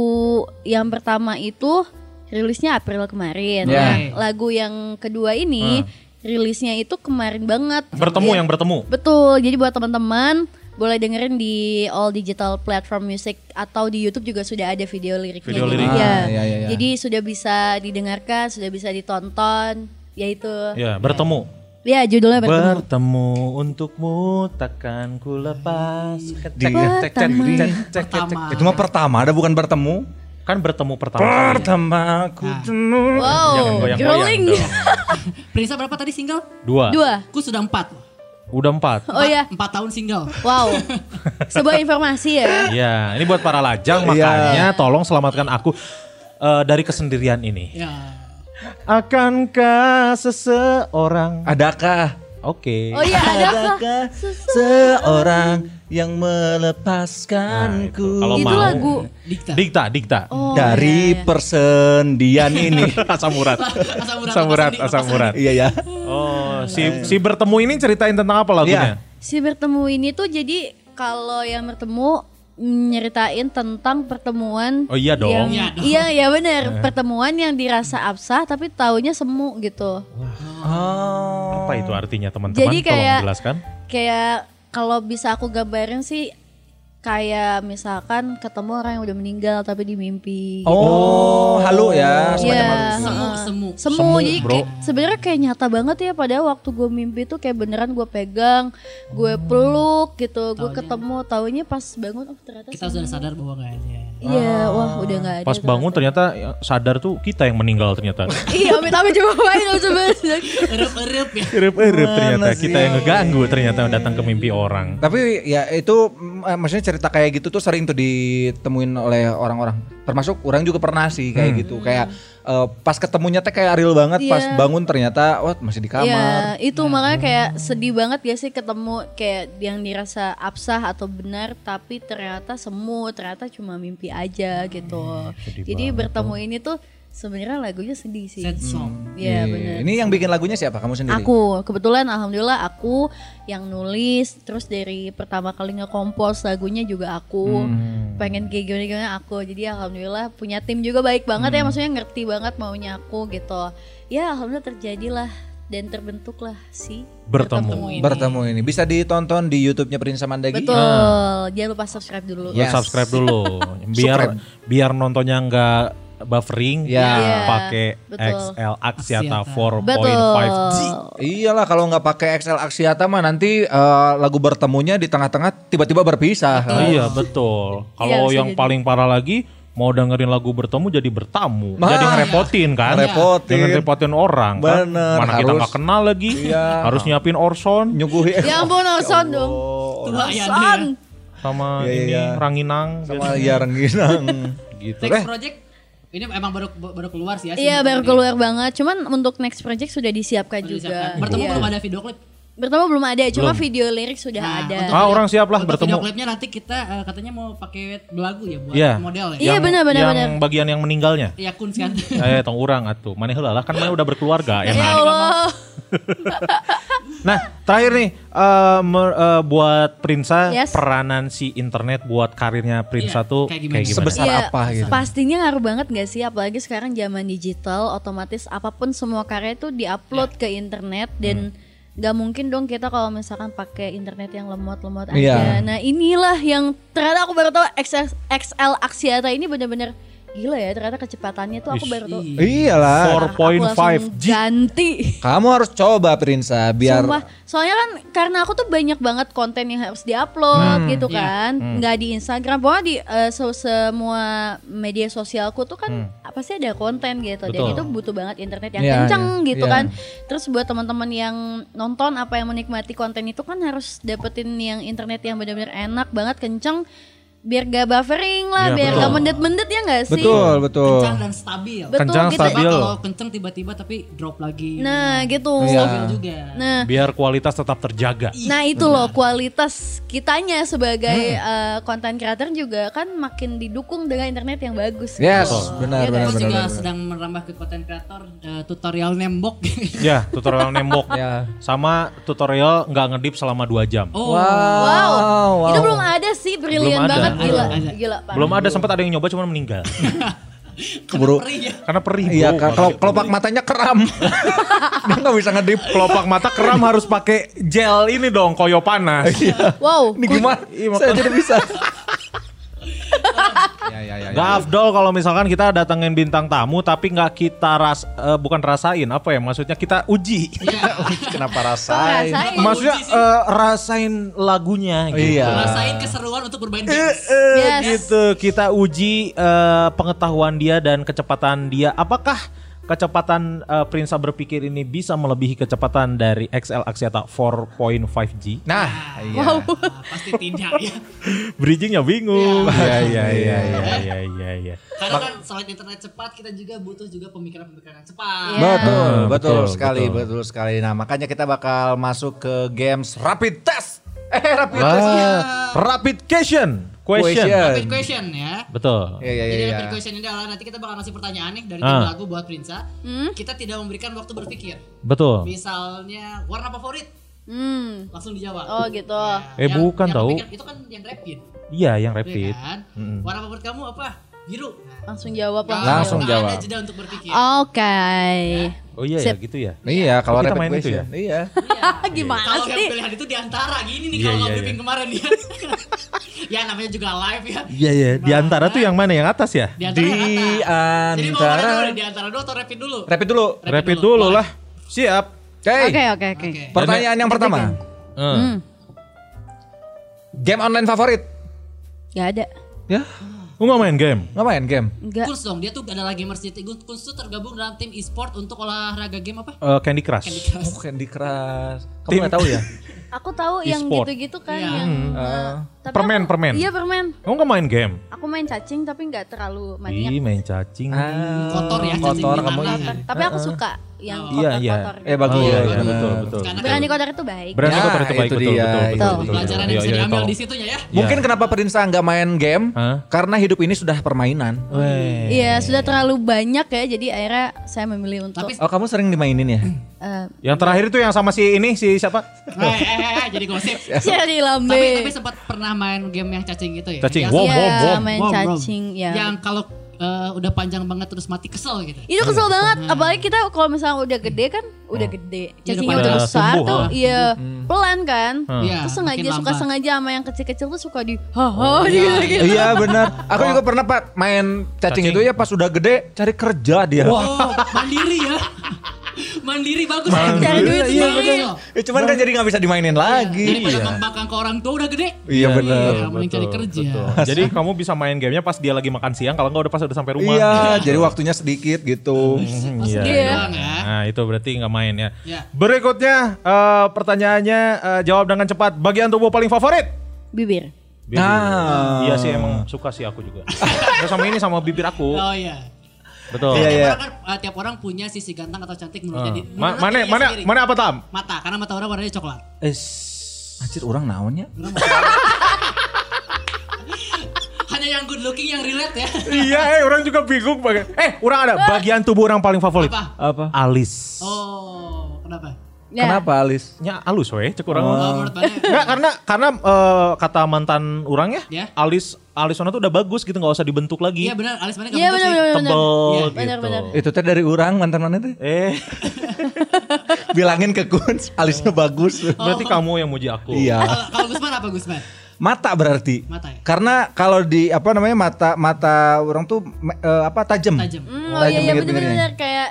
Speaker 3: yang pertama itu rilisnya April kemarin.
Speaker 6: Ya.
Speaker 3: Nah, lagu yang kedua ini rilisnya itu kemarin banget.
Speaker 2: Hmm. Bertemu
Speaker 3: Jadi-
Speaker 2: yang bertemu.
Speaker 3: Betul. Jadi buat teman-teman boleh dengerin di all digital platform music atau di YouTube juga sudah ada video liriknya.
Speaker 2: Video
Speaker 3: Jadi,
Speaker 2: lirik.
Speaker 3: ya.
Speaker 6: Ah, iya, iya, iya.
Speaker 3: Jadi sudah bisa didengarkan, sudah bisa ditonton, yaitu
Speaker 2: Ya, bertemu.
Speaker 3: ya judulnya bertemu.
Speaker 2: Bertemu untukmu takkan ku lepas. Kan Cek, cek, cek, cek,
Speaker 3: Pertama.
Speaker 2: cek, cek, cek, cek.
Speaker 4: pertama.
Speaker 6: Itu mah pertama, ada bukan bertemu. Nah.
Speaker 2: Kan bertemu pertama.
Speaker 6: Oh,
Speaker 2: kali.
Speaker 6: Pertama aku temu.
Speaker 2: Jangan
Speaker 3: Wow,
Speaker 2: goyang-goyang
Speaker 3: growing.
Speaker 2: dong.
Speaker 4: Prinsa berapa tadi single?
Speaker 2: Dua.
Speaker 3: Dua.
Speaker 4: Ku sudah empat.
Speaker 2: Udah empat.
Speaker 3: Oh ya.
Speaker 4: Empat tahun single.
Speaker 3: Wow. Sebuah informasi ya.
Speaker 2: Ya, ini buat para lajang makanya tolong selamatkan aku eh, dari kesendirian ini.
Speaker 4: Ya.
Speaker 2: Akankah seseorang
Speaker 6: Adakah
Speaker 2: Oke.
Speaker 3: Oh iya ada.
Speaker 6: Adakah seorang yang melepaskanku
Speaker 2: Nah,
Speaker 3: Itu
Speaker 2: Mau.
Speaker 3: lagu. Oh,
Speaker 4: Dikta.
Speaker 2: Dikta, dikta.
Speaker 3: iya,
Speaker 6: dari persendian ini?
Speaker 2: Asam urat.
Speaker 4: Asam urat,
Speaker 2: Asam urat,
Speaker 4: lepasan,
Speaker 2: asam urat.
Speaker 6: iya ya.
Speaker 2: Oh, si si bertemu ini ceritain tentang apa lagunya?
Speaker 3: Si bertemu ini tuh jadi kalau yang bertemu mm, nyeritain tentang pertemuan
Speaker 2: Oh iya dong. Eh.
Speaker 3: yang
Speaker 4: Iya dong.
Speaker 3: iya ya benar pertemuan yang dirasa absah tapi taunya semu gitu
Speaker 6: Oh.
Speaker 2: Apa itu artinya teman-teman?
Speaker 3: jadi
Speaker 2: Tolong
Speaker 3: kayak
Speaker 2: jelaskan.
Speaker 3: kayak kalau bisa aku gambarin sih kayak misalkan ketemu orang yang udah meninggal tapi di mimpi
Speaker 6: Oh, halo ya, semacam
Speaker 3: Iya.
Speaker 6: halus.
Speaker 4: Semu,
Speaker 3: Heeh.
Speaker 4: semu.
Speaker 3: Semu, jadi kayak- sebenarnya kayak nyata banget ya pada waktu gue mimpi tuh kayak beneran gue pegang, gue peluk gitu, gue ketemu taunya pas bangun oh ternyata
Speaker 4: Kita sudah sadar bahwa nggak ada. ya.
Speaker 3: Iya, wah udah nggak ada.
Speaker 2: Pas bangun ternyata ya, sadar tuh kita yang meninggal ternyata.
Speaker 3: iya, amit amit coba main lo coba.
Speaker 4: Erup-erup ya.
Speaker 2: Irip-irip ternyata kita yang ngeganggu ternyata
Speaker 6: Iya,
Speaker 2: datang ke mimpi orang.
Speaker 6: Tapi ya itu mm, eh, maksudnya cerita kayak gitu tuh sering tuh ditemuin oleh orang-orang. Termasuk orang juga pernah sih kayak gitu. Kayak eh, pas ketemunya teh kayak real banget, pas
Speaker 3: Iya.
Speaker 6: bangun ternyata wah masih di kamar.
Speaker 3: Iya, itu makanya kayak sedih banget ya sih ketemu kayak yang dirasa absah atau benar tapi ternyata semu, ternyata cuma mimpi aja gitu. Jadi bertemu ini tuh sebenarnya lagunya sedih sih.
Speaker 4: Sad song.
Speaker 3: Iya,
Speaker 6: Iya.
Speaker 3: benar.
Speaker 6: Ini yang bikin lagunya siapa? Kamu sendiri?
Speaker 3: Aku kebetulan alhamdulillah aku yang nulis terus dari pertama kali ngekompos lagunya juga aku pengen kayak gimana gimana aku jadi alhamdulillah punya tim juga baik banget ya maksudnya ngerti banget maunya aku gitu ya alhamdulillah terjadilah dan terbentuklah si
Speaker 2: Bertemu.
Speaker 6: Bertemu ini bisa ditonton di YouTube-nya Prinsa Mandagi.
Speaker 3: betul jangan lupa subscribe dulu
Speaker 6: Yes.
Speaker 2: Subscribe dulu. Biar biar nontonnya nggak buffering
Speaker 6: Ya.
Speaker 3: Iya,
Speaker 2: pakai
Speaker 3: betul.
Speaker 2: XL Axiata
Speaker 4: Axiata.
Speaker 2: 4.5G.
Speaker 6: Iyalah kalau nggak pakai XL Axiata mah nanti eh, lagu bertemunya di tengah-tengah tiba-tiba berpisah. Ah,
Speaker 2: Iya betul.
Speaker 6: Iya,
Speaker 2: Kalau
Speaker 3: bisa
Speaker 2: yang
Speaker 3: jadi.
Speaker 2: paling parah lagi mau dengerin lagu bertemu jadi bertamu,
Speaker 6: Nah,
Speaker 2: jadi ngerepotin kan?
Speaker 6: ngerepotin.
Speaker 2: Jangan ngerepotin orang. kan?
Speaker 6: Bener,
Speaker 2: Mana kita
Speaker 6: harus-
Speaker 2: nggak kenal lagi?
Speaker 6: Iya.
Speaker 2: Harus nyiapin Orson
Speaker 6: Nyuguhi
Speaker 3: ya ampun Orson dong
Speaker 2: Oh,
Speaker 4: Tua ya
Speaker 3: Orson
Speaker 4: Andrea.
Speaker 2: sama
Speaker 6: Iya,
Speaker 2: ini gitu.
Speaker 6: iya.
Speaker 2: Ranginang.
Speaker 6: sama ya Rengginang gitu.
Speaker 4: Next
Speaker 6: Eh,
Speaker 4: project ini emang baru baru keluar sih ya.
Speaker 3: Iya
Speaker 4: single
Speaker 3: baru
Speaker 4: ini.
Speaker 3: keluar banget, cuman untuk next project sudah disiapkan
Speaker 4: Baru
Speaker 3: juga.
Speaker 4: disiapkan. Bertemu
Speaker 3: Iya.
Speaker 4: belum ada video klip.
Speaker 3: Bertemu belum ada, cuma video lirik sudah
Speaker 4: Nah,
Speaker 3: ada.
Speaker 4: untuk
Speaker 2: Ah
Speaker 4: video-
Speaker 2: orang siap lah
Speaker 4: untuk Video
Speaker 2: bertemu.
Speaker 4: klipnya nanti kita eh, katanya mau pakai belagu ya buat
Speaker 2: Iya.
Speaker 4: model ya.
Speaker 3: Iya,
Speaker 2: Yang-
Speaker 3: benar, benar,
Speaker 2: Yang
Speaker 3: benar.
Speaker 2: bagian yang meninggalnya.
Speaker 4: Iya kun kan.
Speaker 2: eh tong orang atuh. Mana heula lah kan mana udah berkeluarga
Speaker 3: Ya
Speaker 2: enak.
Speaker 3: Allah.
Speaker 2: Nah, terakhir nih eh, mer- eh, buat Prinsa
Speaker 3: Yes.
Speaker 2: peranan si internet buat karirnya Prinsa
Speaker 4: Iya,
Speaker 2: tuh kayak
Speaker 4: kayak gimana?
Speaker 2: gimana?
Speaker 6: Sebesar
Speaker 3: Iya,
Speaker 6: apa gitu.
Speaker 3: Pastinya ngaruh banget gak sih apalagi
Speaker 4: Ya.
Speaker 3: sekarang zaman digital otomatis apapun semua karya itu diupload ke internet dan
Speaker 6: Hmm.
Speaker 3: nggak mungkin dong kita kalau misalkan pakai internet yang lemot-lemot aja.
Speaker 6: Iya.
Speaker 3: Nah inilah yang ternyata aku baru tahu XS XL Axiata ini benar-benar gila ya ternyata kecepatannya tuh aku baru tahu.
Speaker 6: Iya. Iyalah.
Speaker 3: Aku langsung
Speaker 2: 4.5G.
Speaker 3: Ganti.
Speaker 6: Kamu harus coba Prinsa biar
Speaker 3: Sumpah, soalnya kan karena aku tuh banyak banget konten yang harus
Speaker 2: Hmm.
Speaker 3: diupload gitu
Speaker 4: iya.
Speaker 3: kan, nggak di Instagram, pokoknya di eh, se- semua media sosialku tuh kan apa sih ada konten gitu, dan
Speaker 2: Hmm. Betul.
Speaker 3: itu butuh banget internet yang
Speaker 6: Iya,
Speaker 3: kenceng
Speaker 6: iya,
Speaker 3: gitu
Speaker 6: iya.
Speaker 3: kan. Terus buat teman-teman yang nonton apa yang menikmati konten itu kan harus dapetin yang internet yang benar-benar enak banget kenceng, biar gak buffering lah,
Speaker 2: Iya,
Speaker 3: biar
Speaker 2: betul.
Speaker 3: gak mendet-mendet ya nggak sih?
Speaker 6: betul, betul.
Speaker 4: kencang dan stabil.
Speaker 3: Betul
Speaker 2: Kencang,
Speaker 3: gitu.
Speaker 2: stabil.
Speaker 4: Kalau kencang tiba-tiba tapi drop lagi.
Speaker 3: Nah gitu.
Speaker 6: Iya.
Speaker 4: Stabil juga.
Speaker 3: Nah
Speaker 2: Biar kualitas tetap terjaga.
Speaker 3: Nah itu loh kualitas kitanya sebagai
Speaker 6: Hmm.
Speaker 3: eh, content creator juga kan makin didukung dengan internet yang bagus. gitu. Iya
Speaker 6: Yes, benar
Speaker 3: kan?
Speaker 6: benar
Speaker 4: Aku
Speaker 6: benar.
Speaker 4: juga
Speaker 6: benar.
Speaker 4: sedang merambah ke konten kreator eh, tutorial nembok.
Speaker 2: Ya, tutorial nembok.
Speaker 6: Ya.
Speaker 2: Sama tutorial nggak ngedip selama 2 jam.
Speaker 4: oh,
Speaker 3: Wow.
Speaker 6: wow.
Speaker 3: Itu belum ada sih, brilian
Speaker 2: Belum ada.
Speaker 3: banget gila.
Speaker 4: Ada, ada.
Speaker 3: Gila Pak.
Speaker 2: Belum ada sempat ada yang nyoba cuman meninggal.
Speaker 6: keburu.
Speaker 4: perih ya.
Speaker 2: Karena perih.
Speaker 6: Iya,
Speaker 2: bro.
Speaker 6: ka- kalau kelopak matanya keram. Dia nggak bisa ngedip.
Speaker 2: kelopak mata keram harus pakai gel ini dong, koyo panas.
Speaker 3: Wow.
Speaker 6: Ini gimana? Saya tidak bisa. ya, ya, ya,
Speaker 2: Gak afdol kalau misalkan kita datengin bintang tamu tapi nggak kita ras eh, bukan rasain apa ya maksudnya kita uji. Kenapa
Speaker 3: Kok ngerasain?
Speaker 2: Maksudnya eh, rasain lagunya gitu.
Speaker 6: Iya.
Speaker 4: Rasain keseruan untuk bermain games.
Speaker 2: Eh,
Speaker 3: Yes.
Speaker 2: gitu kita uji eh, pengetahuan dia dan kecepatan dia apakah kecepatan eh, Prinsa berpikir ini bisa melebihi kecepatan dari XL Axiata 4.5G
Speaker 6: Nah, iya.
Speaker 4: Nah, pasti tidak ya.
Speaker 2: bridgingnya bingung iya iya iya iya iya iya
Speaker 4: Karena kan selain internet cepat kita juga butuh juga pemikiran-pemikiran cepat.
Speaker 3: Iya.
Speaker 6: Betul,
Speaker 2: Ah,
Speaker 6: betul,
Speaker 2: betul,
Speaker 6: sekali,
Speaker 2: betul.
Speaker 6: betul. sekali. Nah, makanya kita bakal masuk ke games rapid test. Eh, rapid test.
Speaker 2: rapid question question,
Speaker 6: Question.
Speaker 4: Rapid question ya.
Speaker 2: betul
Speaker 6: Iya, iya,
Speaker 4: Jadi
Speaker 6: iya.
Speaker 4: rapid question ini adalah nanti kita bakal ngasih pertanyaan nih dari
Speaker 2: Ah. Hmm?
Speaker 4: tim lagu buat Prinsa. Kita tidak memberikan waktu berpikir.
Speaker 2: betul
Speaker 4: Misalnya warna favorit
Speaker 3: Hmm.
Speaker 4: langsung dijawab.
Speaker 3: Oh gitu.
Speaker 2: Eh, bukan tahu.
Speaker 4: berpikir- Itu kan yang rapid.
Speaker 2: iya yang
Speaker 4: Iya
Speaker 2: rapid
Speaker 4: kan? Warna favorit kamu apa? Biru. Nah,
Speaker 3: Langsung jawab
Speaker 4: Nggak-
Speaker 3: langsung.
Speaker 6: Langsung
Speaker 4: nggak
Speaker 6: jawab.
Speaker 4: Ada jeda untuk berpikir.
Speaker 3: Oke.
Speaker 2: oh iya ya
Speaker 3: Sip.
Speaker 2: gitu ya
Speaker 6: Iya,
Speaker 2: Oh,
Speaker 6: kalau
Speaker 2: kita
Speaker 6: rapid
Speaker 2: main itu
Speaker 6: question.
Speaker 2: ya?
Speaker 6: Iya.
Speaker 3: Ah, Gimana
Speaker 4: Kalau yang
Speaker 3: sih?
Speaker 4: pilihan itu diantara gini
Speaker 2: Iya,
Speaker 4: nih kalau
Speaker 2: iya,
Speaker 4: nggak
Speaker 2: iya.
Speaker 4: briefing kemarin ya. ya namanya juga live ya.
Speaker 2: iya iya di antara
Speaker 4: nah.
Speaker 2: tuh yang mana yang atas ya
Speaker 4: Di antara
Speaker 6: Di
Speaker 4: yang atas. Jadi mau mana
Speaker 6: antara
Speaker 4: dulu nih, di antara dulu atau rapid dulu?
Speaker 6: rapid dulu.
Speaker 2: rapid dulu lah siap
Speaker 6: Oke.
Speaker 3: Oke oke oke.
Speaker 4: Oke.
Speaker 6: Pertanyaan yang pertama.
Speaker 3: Hmm.
Speaker 6: Game online favorit?
Speaker 3: Gak ada.
Speaker 6: Ya,
Speaker 2: lu nggak main game
Speaker 6: ngapain game?
Speaker 3: Enggak.
Speaker 4: Kurs dong, dia tuh adalah gamers city. Kurs tuh tergabung dalam tim e-sport untuk olahraga game apa?
Speaker 2: Eh, Candy Crush
Speaker 4: Candy
Speaker 6: Oh,
Speaker 4: Crush.
Speaker 6: Candy Crush. Kamu
Speaker 2: Tim-
Speaker 6: nggak tahu ya?
Speaker 3: Aku tahu yang
Speaker 2: E-sport.
Speaker 3: gitu-gitu kan
Speaker 4: Iya.
Speaker 3: yang
Speaker 6: Hmm,
Speaker 3: eh, tapi
Speaker 2: Permen,
Speaker 3: aku-
Speaker 2: permen.
Speaker 3: Iya permen.
Speaker 2: kamu nggak main game
Speaker 3: Aku main cacing tapi nggak terlalu
Speaker 2: Ih,
Speaker 3: maniak.
Speaker 2: main cacing
Speaker 6: Ah,
Speaker 4: Kotor ya, cacing
Speaker 6: kotor
Speaker 4: di
Speaker 6: kamu.
Speaker 4: tanah.
Speaker 6: ini.
Speaker 3: Tapi aku suka yang
Speaker 4: Oh.
Speaker 2: Iya, iya.
Speaker 3: kotor-kotor.
Speaker 6: Eh bagus.
Speaker 2: Oh, iya,
Speaker 6: ya,
Speaker 2: iya,
Speaker 6: benar.
Speaker 2: betul, betul.
Speaker 4: Karena
Speaker 3: Berani kotor itu baik.
Speaker 2: Berani
Speaker 6: Ya,
Speaker 2: kotor itu baik,
Speaker 6: itu
Speaker 2: betul,
Speaker 6: dia,
Speaker 2: betul,
Speaker 6: itu
Speaker 2: betul, betul,
Speaker 4: pelajaran
Speaker 2: betul.
Speaker 4: yang bisa
Speaker 2: Iya, iya,
Speaker 4: diambil
Speaker 2: tolong.
Speaker 4: di situ ya.
Speaker 6: Mungkin kenapa Prinsa nggak main game?
Speaker 2: Hah?
Speaker 6: Karena hidup ini sudah permainan.
Speaker 2: Weh.
Speaker 3: Iya sudah terlalu banyak ya jadi akhirnya saya memilih untuk
Speaker 2: Iya,
Speaker 4: Tapi-
Speaker 6: Oh kamu sering dimainin ya?
Speaker 3: eh,
Speaker 2: Yang terakhir itu yang sama si ini si siapa?
Speaker 4: Eh, eh, eh, eh, jadi gosip.
Speaker 2: Iya.
Speaker 3: jadi lambe.
Speaker 4: tapi tapi sempat pernah main game yang cacing gitu ya.
Speaker 2: Cacing.
Speaker 4: Yang,
Speaker 2: Wow,
Speaker 3: Iya,
Speaker 2: wow, wow.
Speaker 3: main
Speaker 4: Wow, wow.
Speaker 3: cacing ya.
Speaker 4: yang kalau eh, udah panjang banget terus mati kesel gitu.
Speaker 3: Itu kesel banget apalagi kita kalau misalnya udah gede kan udah
Speaker 2: Ah.
Speaker 3: gede. Cacingnya
Speaker 4: pada
Speaker 3: udah besar
Speaker 2: Iya, tumbuh,
Speaker 3: tuh
Speaker 2: ah. Hmm.
Speaker 3: iya pelan kan.
Speaker 4: Iya,
Speaker 3: Terus
Speaker 4: makin
Speaker 3: sengaja suka
Speaker 4: lambat.
Speaker 3: sengaja sama yang kecil-kecil tuh suka di
Speaker 2: Oh,
Speaker 3: haha gitu gitu.
Speaker 6: iya benar. Aku juga pernah pak main cacing, itu ya pas udah gede cari kerja dia.
Speaker 4: Oh, mandiri ya. mandiri bagus.
Speaker 3: Cari duit
Speaker 4: Iya,
Speaker 3: sendiri.
Speaker 4: betul.
Speaker 6: Ya, cuman kan jadi nggak bisa dimainin lagi.
Speaker 2: Iya.
Speaker 4: Daripada membangkang ke orang tua udah gede.
Speaker 6: Iya, benar.
Speaker 4: mending cari kerja.
Speaker 2: Jadi kamu bisa main gamenya pas dia lagi makan siang kalau nggak udah pas udah sampai rumah.
Speaker 6: Iya, jadi waktunya sedikit gitu.
Speaker 2: Hmm,
Speaker 4: Pas
Speaker 2: Iya.
Speaker 4: dia
Speaker 2: iya.
Speaker 4: doang ya.
Speaker 2: Nah itu berarti nggak main ya.
Speaker 4: Iya.
Speaker 2: Berikutnya eh, pertanyaannya eh, jawab dengan cepat. Bagian tubuh paling favorit?
Speaker 3: Bibir.
Speaker 2: Bibir.
Speaker 6: Ah.
Speaker 2: Iya sih emang suka sih aku juga. Terus sama ini sama bibir aku.
Speaker 4: Oh iya.
Speaker 2: Betul.
Speaker 6: Iya, iya.
Speaker 4: Orang kan, eh, tiap orang punya sisi ganteng atau cantik menurutnya. Di-
Speaker 2: Ah. Ma-
Speaker 4: menurut
Speaker 2: mana
Speaker 4: dirinya
Speaker 2: mana
Speaker 4: sendiri.
Speaker 2: mana apa tam?
Speaker 4: Mata, karena mata orang warnanya coklat.
Speaker 6: Anjir orang ya? naonnya?
Speaker 4: Hanya yang good looking yang relate ya.
Speaker 2: iya, eh orang juga bingung bagian. Eh, orang ada bagian tubuh orang paling favorit.
Speaker 4: Apa?
Speaker 6: Apa?
Speaker 2: Alis.
Speaker 4: Oh, kenapa?
Speaker 3: Ya.
Speaker 6: Kenapa Alis?
Speaker 2: Nya alus weh, cek orang.
Speaker 4: Oh, menurut mana?
Speaker 2: Enggak karena karena eh, kata mantan orang ya,
Speaker 4: Ya.
Speaker 2: alis alis orang tuh udah bagus gitu nggak usah dibentuk lagi.
Speaker 4: Iya benar, alis mana
Speaker 3: Iya benar benar benar.
Speaker 2: Tebel
Speaker 4: Iya,
Speaker 2: gitu.
Speaker 3: benar, benar.
Speaker 6: Eh. Itu teh dari orang mantan mana teh?
Speaker 2: Eh,
Speaker 6: bilangin ke Kunz alisnya bagus.
Speaker 2: Berarti kamu yang muji aku.
Speaker 6: Iya.
Speaker 4: Kalau- Kalau Gusman apa Gusman?
Speaker 6: Mata berarti.
Speaker 4: Mata ya?
Speaker 6: Karena kalau di apa namanya mata mata orang tuh me- eh, apa tajam.
Speaker 4: Tajam.
Speaker 2: Nah,
Speaker 3: Hmm, oh iya iya
Speaker 6: Tajam pinggir-pinggirnya.
Speaker 3: bener-bener kayak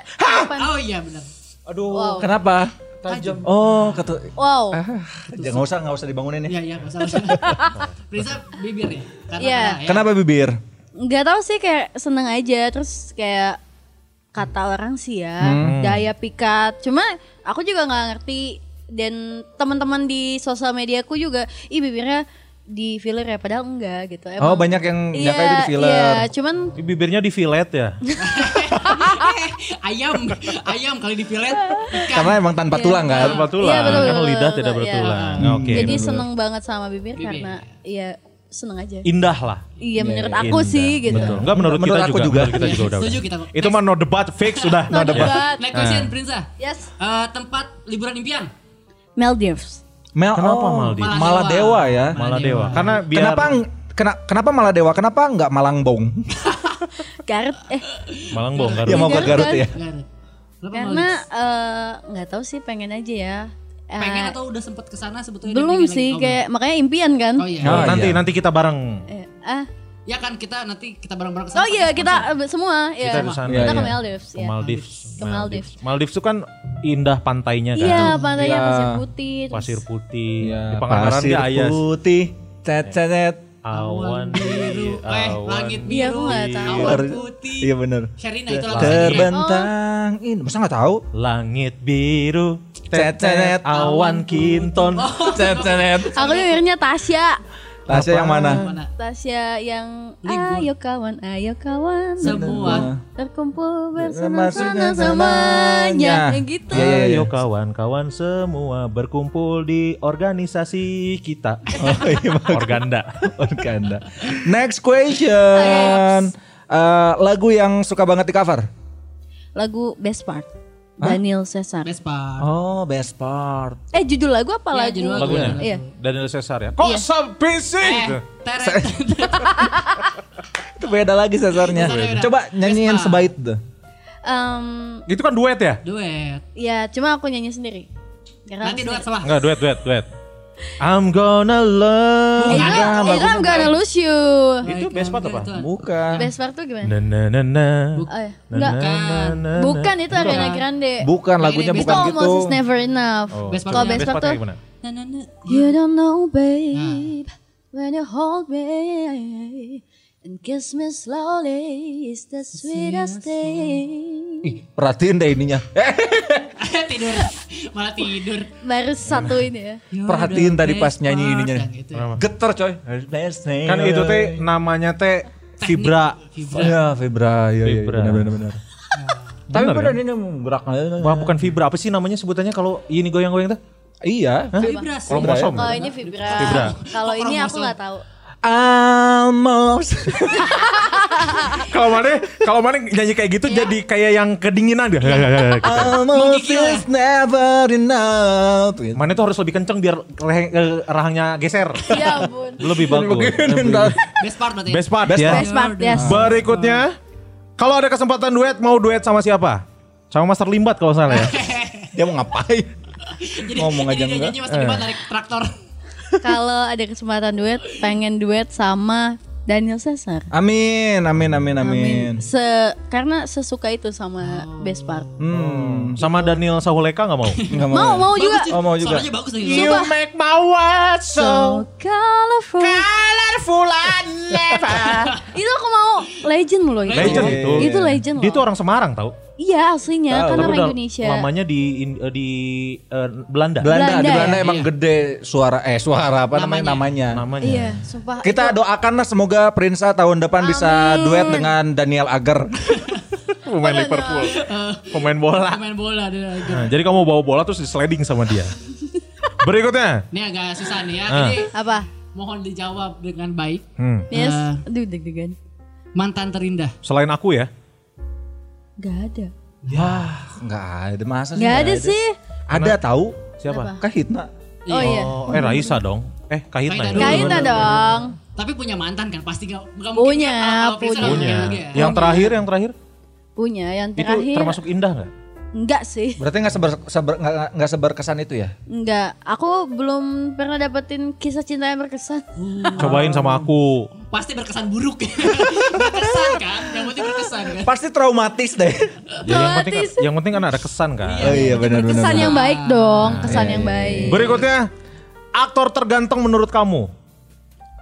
Speaker 4: Oh iya benar.
Speaker 2: Aduh.
Speaker 3: Wow.
Speaker 6: Kenapa? Tajam. Oh, kata
Speaker 3: Wow.
Speaker 2: Eh,
Speaker 6: jangan nggak usah nggak usah dibangunin ya.
Speaker 4: Nah, Iya iya masalah. Prinsa bibir ya. Karena
Speaker 3: Iya.
Speaker 4: merah ya.
Speaker 6: Kenapa bibir?
Speaker 3: nggak tahu sih kayak seneng aja terus kayak kata orang sih ya
Speaker 6: Hmm.
Speaker 3: daya pikat cuma aku juga nggak ngerti dan teman-teman di sosial mediaku juga ih bibirnya di filler ya padahal enggak gitu
Speaker 6: Oh, banyak yang
Speaker 3: iya,
Speaker 6: nyangka itu di filler.
Speaker 3: iya cuman
Speaker 2: Bibirnya di fillet ya.
Speaker 4: ayam ayam kali di fillet ikan.
Speaker 6: Karena emang
Speaker 4: Iya,
Speaker 6: tanpa tulang kan.
Speaker 2: Tanpa
Speaker 3: betul, betul,
Speaker 2: tulang. kan
Speaker 3: betul,
Speaker 2: lidah
Speaker 3: betul,
Speaker 2: tidak
Speaker 3: iya.
Speaker 2: bertulang. Oke.
Speaker 3: jadi
Speaker 2: benar.
Speaker 3: seneng banget sama bibir,
Speaker 4: Bibir.
Speaker 3: karena ya seneng aja
Speaker 2: Indah lah.
Speaker 3: iya menurut aku sih gitu
Speaker 2: Betul. Enggak menurut,
Speaker 6: Menurut
Speaker 2: kita
Speaker 6: aku
Speaker 2: juga.
Speaker 6: juga.
Speaker 2: Menurut kita juga udah.
Speaker 4: Setuju
Speaker 2: udah.
Speaker 4: kita.
Speaker 2: Itu mah no debat fix sudah.
Speaker 3: No
Speaker 6: Nah,
Speaker 3: debat.
Speaker 4: Next question Prinsa.
Speaker 3: yes
Speaker 4: Eh, tempat liburan impian.
Speaker 3: Maldives
Speaker 6: Mel,
Speaker 2: Kenapa Maldi?
Speaker 4: Maladewa.
Speaker 6: Malah dewa ya.
Speaker 2: Malah
Speaker 3: Iya.
Speaker 2: dewa. Karena biar
Speaker 6: Kenapa ng- kena, kenapa malah dewa? Kenapa nggak Malangbong?
Speaker 3: Garut eh
Speaker 2: Malang bongkar.
Speaker 6: ya mau
Speaker 4: Iya,
Speaker 6: ke
Speaker 3: Garut
Speaker 6: Garut
Speaker 3: kan?
Speaker 6: ya.
Speaker 4: Garut. Kenapa
Speaker 3: karena
Speaker 4: Maldives?
Speaker 3: eh, nggak tahu sih pengen aja ya Eh,
Speaker 4: pengen atau udah sempet kesana sebetulnya dan
Speaker 3: belum
Speaker 4: pengen lagi?
Speaker 3: sih
Speaker 4: Oh,
Speaker 3: kayak makanya impian kan
Speaker 4: belum. Oh iya.
Speaker 2: Oh, nanti
Speaker 6: iya.
Speaker 2: nanti kita bareng.
Speaker 3: Eh, ah
Speaker 4: Ya kan kita nanti kita bareng-bareng kesana.
Speaker 3: oh iya kita eh, semua ya
Speaker 2: Kita kesana,
Speaker 3: kita ke
Speaker 6: iya.
Speaker 3: Maldives
Speaker 2: Ke
Speaker 3: ya.
Speaker 2: Maldives.
Speaker 3: ke Maldives
Speaker 2: Maldives itu kan indah pantainya kan.
Speaker 3: iya pantainya
Speaker 6: Iya.
Speaker 3: pasir putih terus-
Speaker 2: Pasir putih. di
Speaker 6: Ya,
Speaker 2: Pangandaran
Speaker 6: pasir
Speaker 2: dia ayas.
Speaker 6: putih, cet cet cet.
Speaker 2: Awan biru.
Speaker 4: Eh,
Speaker 2: Awan.
Speaker 4: langit biru.
Speaker 3: Iya, aku nggak tahu.
Speaker 4: Awan
Speaker 6: Ter-
Speaker 4: putih.
Speaker 6: Iya bener.
Speaker 4: Sherina itu lagunya.
Speaker 6: Terbentang ini masa nggak tahu?
Speaker 2: Langit biru.
Speaker 6: Cecenet.
Speaker 2: Cecenet awan kinton.
Speaker 4: Oh.
Speaker 6: Cet cet cet.
Speaker 3: aku dengernya Tasya
Speaker 6: Tasya yang mana?
Speaker 4: Mana?
Speaker 3: Tasya yang
Speaker 4: Libur.
Speaker 3: ayo kawan ayo kawan
Speaker 4: Semua.
Speaker 3: terkumpul bersenang-senang
Speaker 6: Bersenang-senang
Speaker 3: semuanya
Speaker 6: semuanya.
Speaker 3: yang gitu
Speaker 6: Iya, iya, iya.
Speaker 2: Ayo kawan-kawan semua berkumpul di organisasi kita. Organda.
Speaker 6: Organda. Next question. Eh, lagu yang suka banget di cover.
Speaker 3: lagu best part Daniel Cesar
Speaker 4: Vespa.
Speaker 6: Oh, best part.
Speaker 3: eh judul lagu apa
Speaker 4: Iya,
Speaker 3: lagu
Speaker 4: judul lagu.
Speaker 2: Lagunya.
Speaker 3: iya
Speaker 2: Daniel Cesar ya. Kok
Speaker 3: Iya.
Speaker 2: sepisik?
Speaker 4: Eh, teret.
Speaker 6: Itu beda lagi sesarnya.
Speaker 4: Beda.
Speaker 6: Coba
Speaker 4: Best
Speaker 6: nyanyiin
Speaker 4: part.
Speaker 6: sebaik tuh.
Speaker 3: Em,
Speaker 2: Itu kan duet ya?
Speaker 4: Duet.
Speaker 3: ya cuma aku nyanyi sendiri Karena
Speaker 4: Nanti duet salah.
Speaker 2: Enggak, duet, duet, duet. I'm gonna love.
Speaker 3: Eh, itu itu I'm gonna lose you
Speaker 2: Itu best part apa?
Speaker 6: Bukan.
Speaker 3: best part tuh gimana
Speaker 6: Nah,
Speaker 2: Na na na na.
Speaker 3: Oh, iya.
Speaker 2: Na,
Speaker 3: Enggak.
Speaker 2: na, na, na, na.
Speaker 3: Bukan itu Ariana Grande.
Speaker 6: Bukan lagunya
Speaker 3: itu
Speaker 6: bukan gitu. Oh,
Speaker 3: almost is never enough.
Speaker 4: Best part
Speaker 3: Kalau
Speaker 4: yang-
Speaker 3: best part tuh
Speaker 2: kayak gimana?
Speaker 4: Nah, nah, nah.
Speaker 3: You don't know babe
Speaker 6: Ah.
Speaker 3: when you hold me and kiss me slowly is the sweetest thing.
Speaker 6: Ih, perhatiin deh ininya. Eh,
Speaker 4: tidur. Malah tidur.
Speaker 3: Baru satu ini ya.
Speaker 6: perhatiin tadi pas nyanyi ininya.
Speaker 4: Yang itu ya.
Speaker 6: Geter coy.
Speaker 2: Kan itu teh namanya teh Fibra.
Speaker 6: Iya, Fibra. Iya, iya,
Speaker 2: Fibra.
Speaker 6: benar benar benar. Tapi benar ini geraknya.
Speaker 2: ya? Wah, bukan Fibra. Apa sih namanya sebutannya kalau ini goyang-goyang tuh?
Speaker 6: Iya.
Speaker 4: Vibras.
Speaker 2: Kalau mau som.
Speaker 3: Kalau ya? ini Vibra.
Speaker 2: Vibra.
Speaker 3: Kalau ini aku nggak tahu.
Speaker 6: Almost.
Speaker 2: Kalau mana kalau mana nyanyi kayak gitu jadi kayak yang kedinginan dia. Gitu.
Speaker 6: Almost is never enough. ya.
Speaker 2: Mana tuh harus lebih kenceng biar lehe- eh, rahangnya geser.
Speaker 3: Ya ampun.
Speaker 2: Lebih bagus.
Speaker 4: Best part berarti.
Speaker 2: Best part
Speaker 6: Best
Speaker 2: ya.
Speaker 3: Best part yes.
Speaker 2: Berikutnya, kalau ada kesempatan duet mau duet sama siapa? Sama Master Limbat kalau salah ya.
Speaker 6: Dia mau ngapain?
Speaker 4: Jadi,
Speaker 6: Ngomong aja
Speaker 4: jadi dia
Speaker 6: enggak.
Speaker 4: nyanyi mas terlibat dari traktor.
Speaker 3: Kalau ada kesempatan duet, pengen duet sama Daniel Cesar.
Speaker 6: Amin, amin, amin, amin.
Speaker 3: Se karena sesuka itu sama best part.
Speaker 6: Hmm,
Speaker 2: sama Daniel Sahuleka nggak mau.
Speaker 6: nggak
Speaker 3: Mau mau juga.
Speaker 6: Oh, mau juga.
Speaker 4: Suaranya bagus lagi.
Speaker 2: you make my world so
Speaker 3: So colorful.
Speaker 2: colorful I never.
Speaker 3: itu aku mau legend loh itu.
Speaker 2: Legend itu.
Speaker 3: Itu legend
Speaker 2: Dia
Speaker 3: loh.
Speaker 2: tuh orang Semarang tau.
Speaker 3: Iya aslinya kan
Speaker 2: Tapi
Speaker 3: orang
Speaker 2: udah
Speaker 3: Indonesia.
Speaker 2: Lamanya di in- eh, di eh, Belanda.
Speaker 6: Belanda,
Speaker 3: Belanda
Speaker 6: di Belanda
Speaker 3: ya?
Speaker 6: emang gede suara eh suara apa namanya namanya.
Speaker 2: Namanya.
Speaker 3: Iya, sumpah.
Speaker 6: Kita doakanlah semoga Prinsa tahun depan bisa
Speaker 3: Amin.
Speaker 6: duet dengan Daniel Agar.
Speaker 2: Pemain Liverpool. Pemain bola.
Speaker 4: Main bola dia. gitu.
Speaker 2: Nah, jadi kamu bawa bola terus di sliding sama dia. Berikutnya.
Speaker 4: Ini agak susah nih ya.
Speaker 2: Ah.
Speaker 4: Jadi
Speaker 3: Apa?
Speaker 4: mohon dijawab dengan baik.
Speaker 2: Hmm,
Speaker 3: Yes.
Speaker 4: Eh.
Speaker 3: Aduh deg-degan.
Speaker 4: Mantan terindah.
Speaker 2: selain aku ya.
Speaker 3: Gak ada.
Speaker 6: Yah, enggak ada masa
Speaker 3: Gak ada sih.
Speaker 6: Ada tahu?
Speaker 2: Siapa?
Speaker 6: Kahitna.
Speaker 3: Oh iya.
Speaker 2: Oh, eh Raisa dong. Eh Kahitna ya.
Speaker 4: Kahitna dulu.
Speaker 3: Kaita dong.
Speaker 4: Tapi punya mantan kan pasti gak, gak
Speaker 3: Punya,
Speaker 4: kan kalau- kalau Prinsa gak
Speaker 3: punya.
Speaker 4: mungkin lagi
Speaker 2: Yang terakhir, yang terakhir
Speaker 3: Punya yang
Speaker 2: itu
Speaker 3: terakhir.
Speaker 2: termasuk indah nggak?
Speaker 3: Enggak sih.
Speaker 6: Berarti nggak seber, seber nggak nggak seberkesan itu ya?
Speaker 3: Enggak, aku belum pernah dapetin kisah cinta yang berkesan.
Speaker 2: Cobain sama aku.
Speaker 4: Pasti berkesan buruk. berkesan kan? Yang penting berkesan kan?
Speaker 6: Pasti traumatis deh.
Speaker 2: Ya, yang penting
Speaker 3: Traumatis.
Speaker 2: yang penting kan ada kesan kan.
Speaker 6: Oh iya benar benar.
Speaker 3: Kesan yang baik dong, kesan
Speaker 6: Iya,
Speaker 3: yang baik.
Speaker 2: Berikutnya, aktor terganteng menurut kamu?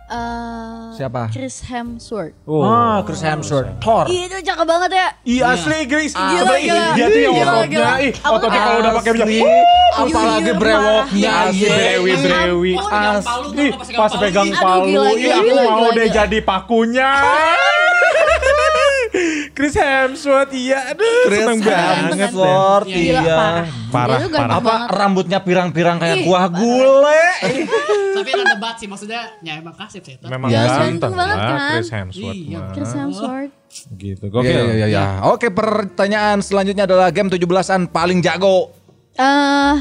Speaker 3: Eh,
Speaker 6: Siapa?
Speaker 3: Chris Hemsworth.
Speaker 2: Oh.
Speaker 6: Ah, Chris Hemsworth, Thor.
Speaker 3: Iya itu cakep banget ya.
Speaker 2: Iya asli Grace.
Speaker 3: Gila, gila.
Speaker 2: Dia tuh yang
Speaker 3: Gila,
Speaker 2: ototnya,
Speaker 3: gila.
Speaker 2: ih
Speaker 3: Aku
Speaker 2: ototnya kalau udah pakai
Speaker 6: Asli. Apalagi
Speaker 3: Yuyur,
Speaker 6: brewoknya iya.
Speaker 4: parah.
Speaker 6: asli.
Speaker 2: Brewi brewi
Speaker 4: Oh, pegang palu tuh,
Speaker 2: asli
Speaker 4: apa pegang
Speaker 2: pas
Speaker 4: palu?
Speaker 2: pegang
Speaker 3: Aduh,
Speaker 2: palu
Speaker 3: gila,
Speaker 2: iya
Speaker 3: gila,
Speaker 2: aku
Speaker 3: gila,
Speaker 2: mau
Speaker 3: gila,
Speaker 2: deh
Speaker 3: gila.
Speaker 2: jadi pakunya. Chris Hemsworth iya aduh
Speaker 6: Chris
Speaker 2: seneng banget.
Speaker 6: Hemsworth,
Speaker 4: Iya,
Speaker 3: Gila
Speaker 6: iya.
Speaker 3: parah.
Speaker 2: Parah,
Speaker 3: Dia tuh ganteng
Speaker 2: parah.
Speaker 6: Apa
Speaker 3: banget.
Speaker 6: rambutnya pirang-pirang kayak
Speaker 3: Ih,
Speaker 6: kuah gulai?
Speaker 4: Tapi ada debat sih maksudnya ya emang kasih sih.
Speaker 2: Memang
Speaker 3: Iya,
Speaker 2: ganteng
Speaker 3: ganteng banget
Speaker 2: lah
Speaker 3: kan?
Speaker 2: Chris Hemsworth.
Speaker 4: Iya,
Speaker 2: mah.
Speaker 3: Chris Hemsworth.
Speaker 2: Gitu.
Speaker 6: Oke,
Speaker 2: Gokil.
Speaker 6: ya, ya. Oke, pertanyaan selanjutnya adalah game 17-an paling jago.
Speaker 3: Eh,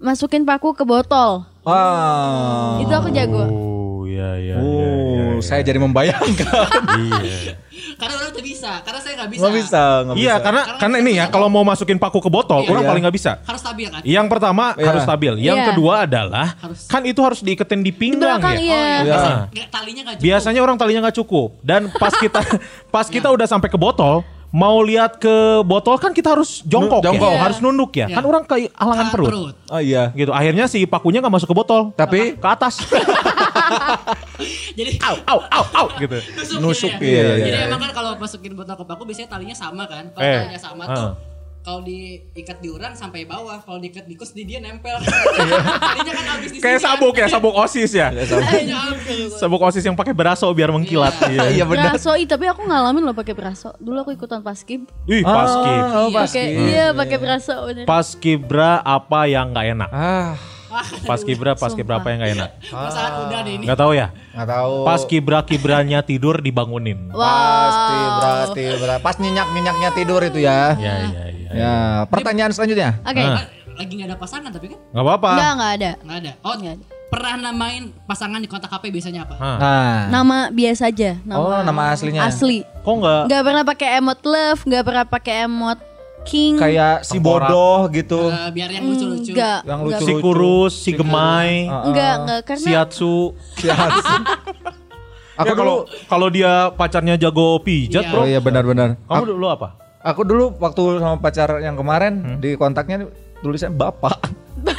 Speaker 3: masukin paku ke botol.
Speaker 6: Wah.
Speaker 3: Itu aku jago.
Speaker 2: Oh iya iya. iya, iya,
Speaker 6: Ah. Oh,
Speaker 2: iya.
Speaker 6: saya jadi membayangkan.
Speaker 2: Iya.
Speaker 4: Karena orang tuh bisa, karena saya nggak bisa.
Speaker 6: Nggak bisa, nggak bisa.
Speaker 2: Iya karena karena ini ya kalau mau masukin paku ke botol
Speaker 4: Iya.
Speaker 2: orang paling nggak bisa.
Speaker 4: Harus stabil kan?
Speaker 2: Yang pertama
Speaker 6: Iya.
Speaker 2: harus stabil. Yang
Speaker 3: Iya.
Speaker 2: kedua adalah
Speaker 4: Harus.
Speaker 2: kan itu harus diiketin
Speaker 3: Di
Speaker 2: di pinggang
Speaker 3: belakang
Speaker 2: ya.
Speaker 3: iya.
Speaker 6: Iya.
Speaker 2: Nah,
Speaker 4: Nggak, talinya nggak cukup.
Speaker 2: biasanya orang talinya nggak cukup dan pas kita pas kita udah sampai ke botol mau lihat ke botol kan kita harus jongkok,
Speaker 6: Nu- jongkok.
Speaker 2: ya, harus nunduk ya.
Speaker 4: Iya.
Speaker 2: Kan orang kayak alangan
Speaker 4: Tangan
Speaker 2: perut.
Speaker 6: Oh iya.
Speaker 2: Gitu. Akhirnya si pakunya nggak masuk ke botol.
Speaker 6: Tapi-
Speaker 2: ke atas.
Speaker 4: Jadi
Speaker 2: au au au au gitu.
Speaker 4: nusuk,
Speaker 6: Nusuk,
Speaker 4: jadinya.
Speaker 6: iya, iya,
Speaker 4: Jadi
Speaker 6: iya.
Speaker 4: emang kan kalau masukin botol ke paku biasanya talinya sama kan? Kalau
Speaker 2: Eh,
Speaker 4: talinya sama tuh
Speaker 2: ah.
Speaker 4: kalau diikat di orang sampai bawah, kalau diikat di kus di dia nempel. talinya kan habis di sini.
Speaker 2: Kayak
Speaker 4: kan.
Speaker 2: sabuk ya, sabuk OSIS ya.
Speaker 6: Iya,
Speaker 4: Talinya habis.
Speaker 2: Sabuk OSIS yang pakai beraso biar mengkilat. Iya.
Speaker 6: Iya benar.
Speaker 3: Braso, ih, tapi aku ngalamin loh pakai braso. Dulu aku ikutan paskib.
Speaker 2: Ih, paskib.
Speaker 6: Oh,
Speaker 3: Pakai iya pakai braso bener.
Speaker 2: Paskibra apa yang nggak enak?
Speaker 6: Ah,
Speaker 2: Paskibra, paskibra apa yang nggak enak?
Speaker 4: Masalah kuda deh ini.
Speaker 2: Nggak tahu ya.
Speaker 6: enggak tahu.
Speaker 2: Pas kibra kibranya tidur dibangunin.
Speaker 6: Pasti berarti berarti pas nyenyak-nyenyaknya tidur itu ya.
Speaker 2: Ya ya ya.
Speaker 6: Ya, pertanyaan selanjutnya.
Speaker 3: Oke.
Speaker 2: Ah.
Speaker 4: Kan Lagi nggak ada pasangan tapi kan?
Speaker 2: Nggak apa-apa.
Speaker 3: Enggak, enggak ada.
Speaker 4: Nggak ada. Oh,
Speaker 3: Nggak ada.
Speaker 4: pernah namain pasangan di kontak HP biasanya apa?
Speaker 2: Hah.
Speaker 6: Nah,
Speaker 3: Nama biasa aja, nama.
Speaker 6: Oh, nama aslinya.
Speaker 3: Asli.
Speaker 2: Kok nggak?
Speaker 3: Enggak pernah pakai emot love, enggak pernah pakai emot king.
Speaker 6: kayak si
Speaker 2: Tengkorak.
Speaker 6: bodoh gitu.
Speaker 4: Eh, biar yang lucu-lucu.
Speaker 3: Enggak.
Speaker 6: Yang
Speaker 3: enggak.
Speaker 2: Si kurus, si gemai,
Speaker 3: Enggak, enggak karena
Speaker 2: si atsu.
Speaker 6: Sias.
Speaker 2: Ya,
Speaker 6: Aku dulu
Speaker 2: kalau kalau dia pacarnya jago pijat,
Speaker 4: Iya.
Speaker 2: bro.
Speaker 6: Oh iya benar-benar.
Speaker 2: Kamu dulu apa?
Speaker 6: Aku dulu waktu sama pacar yang
Speaker 2: Hmm?
Speaker 6: kemarin di kontaknya tulisannya bapak.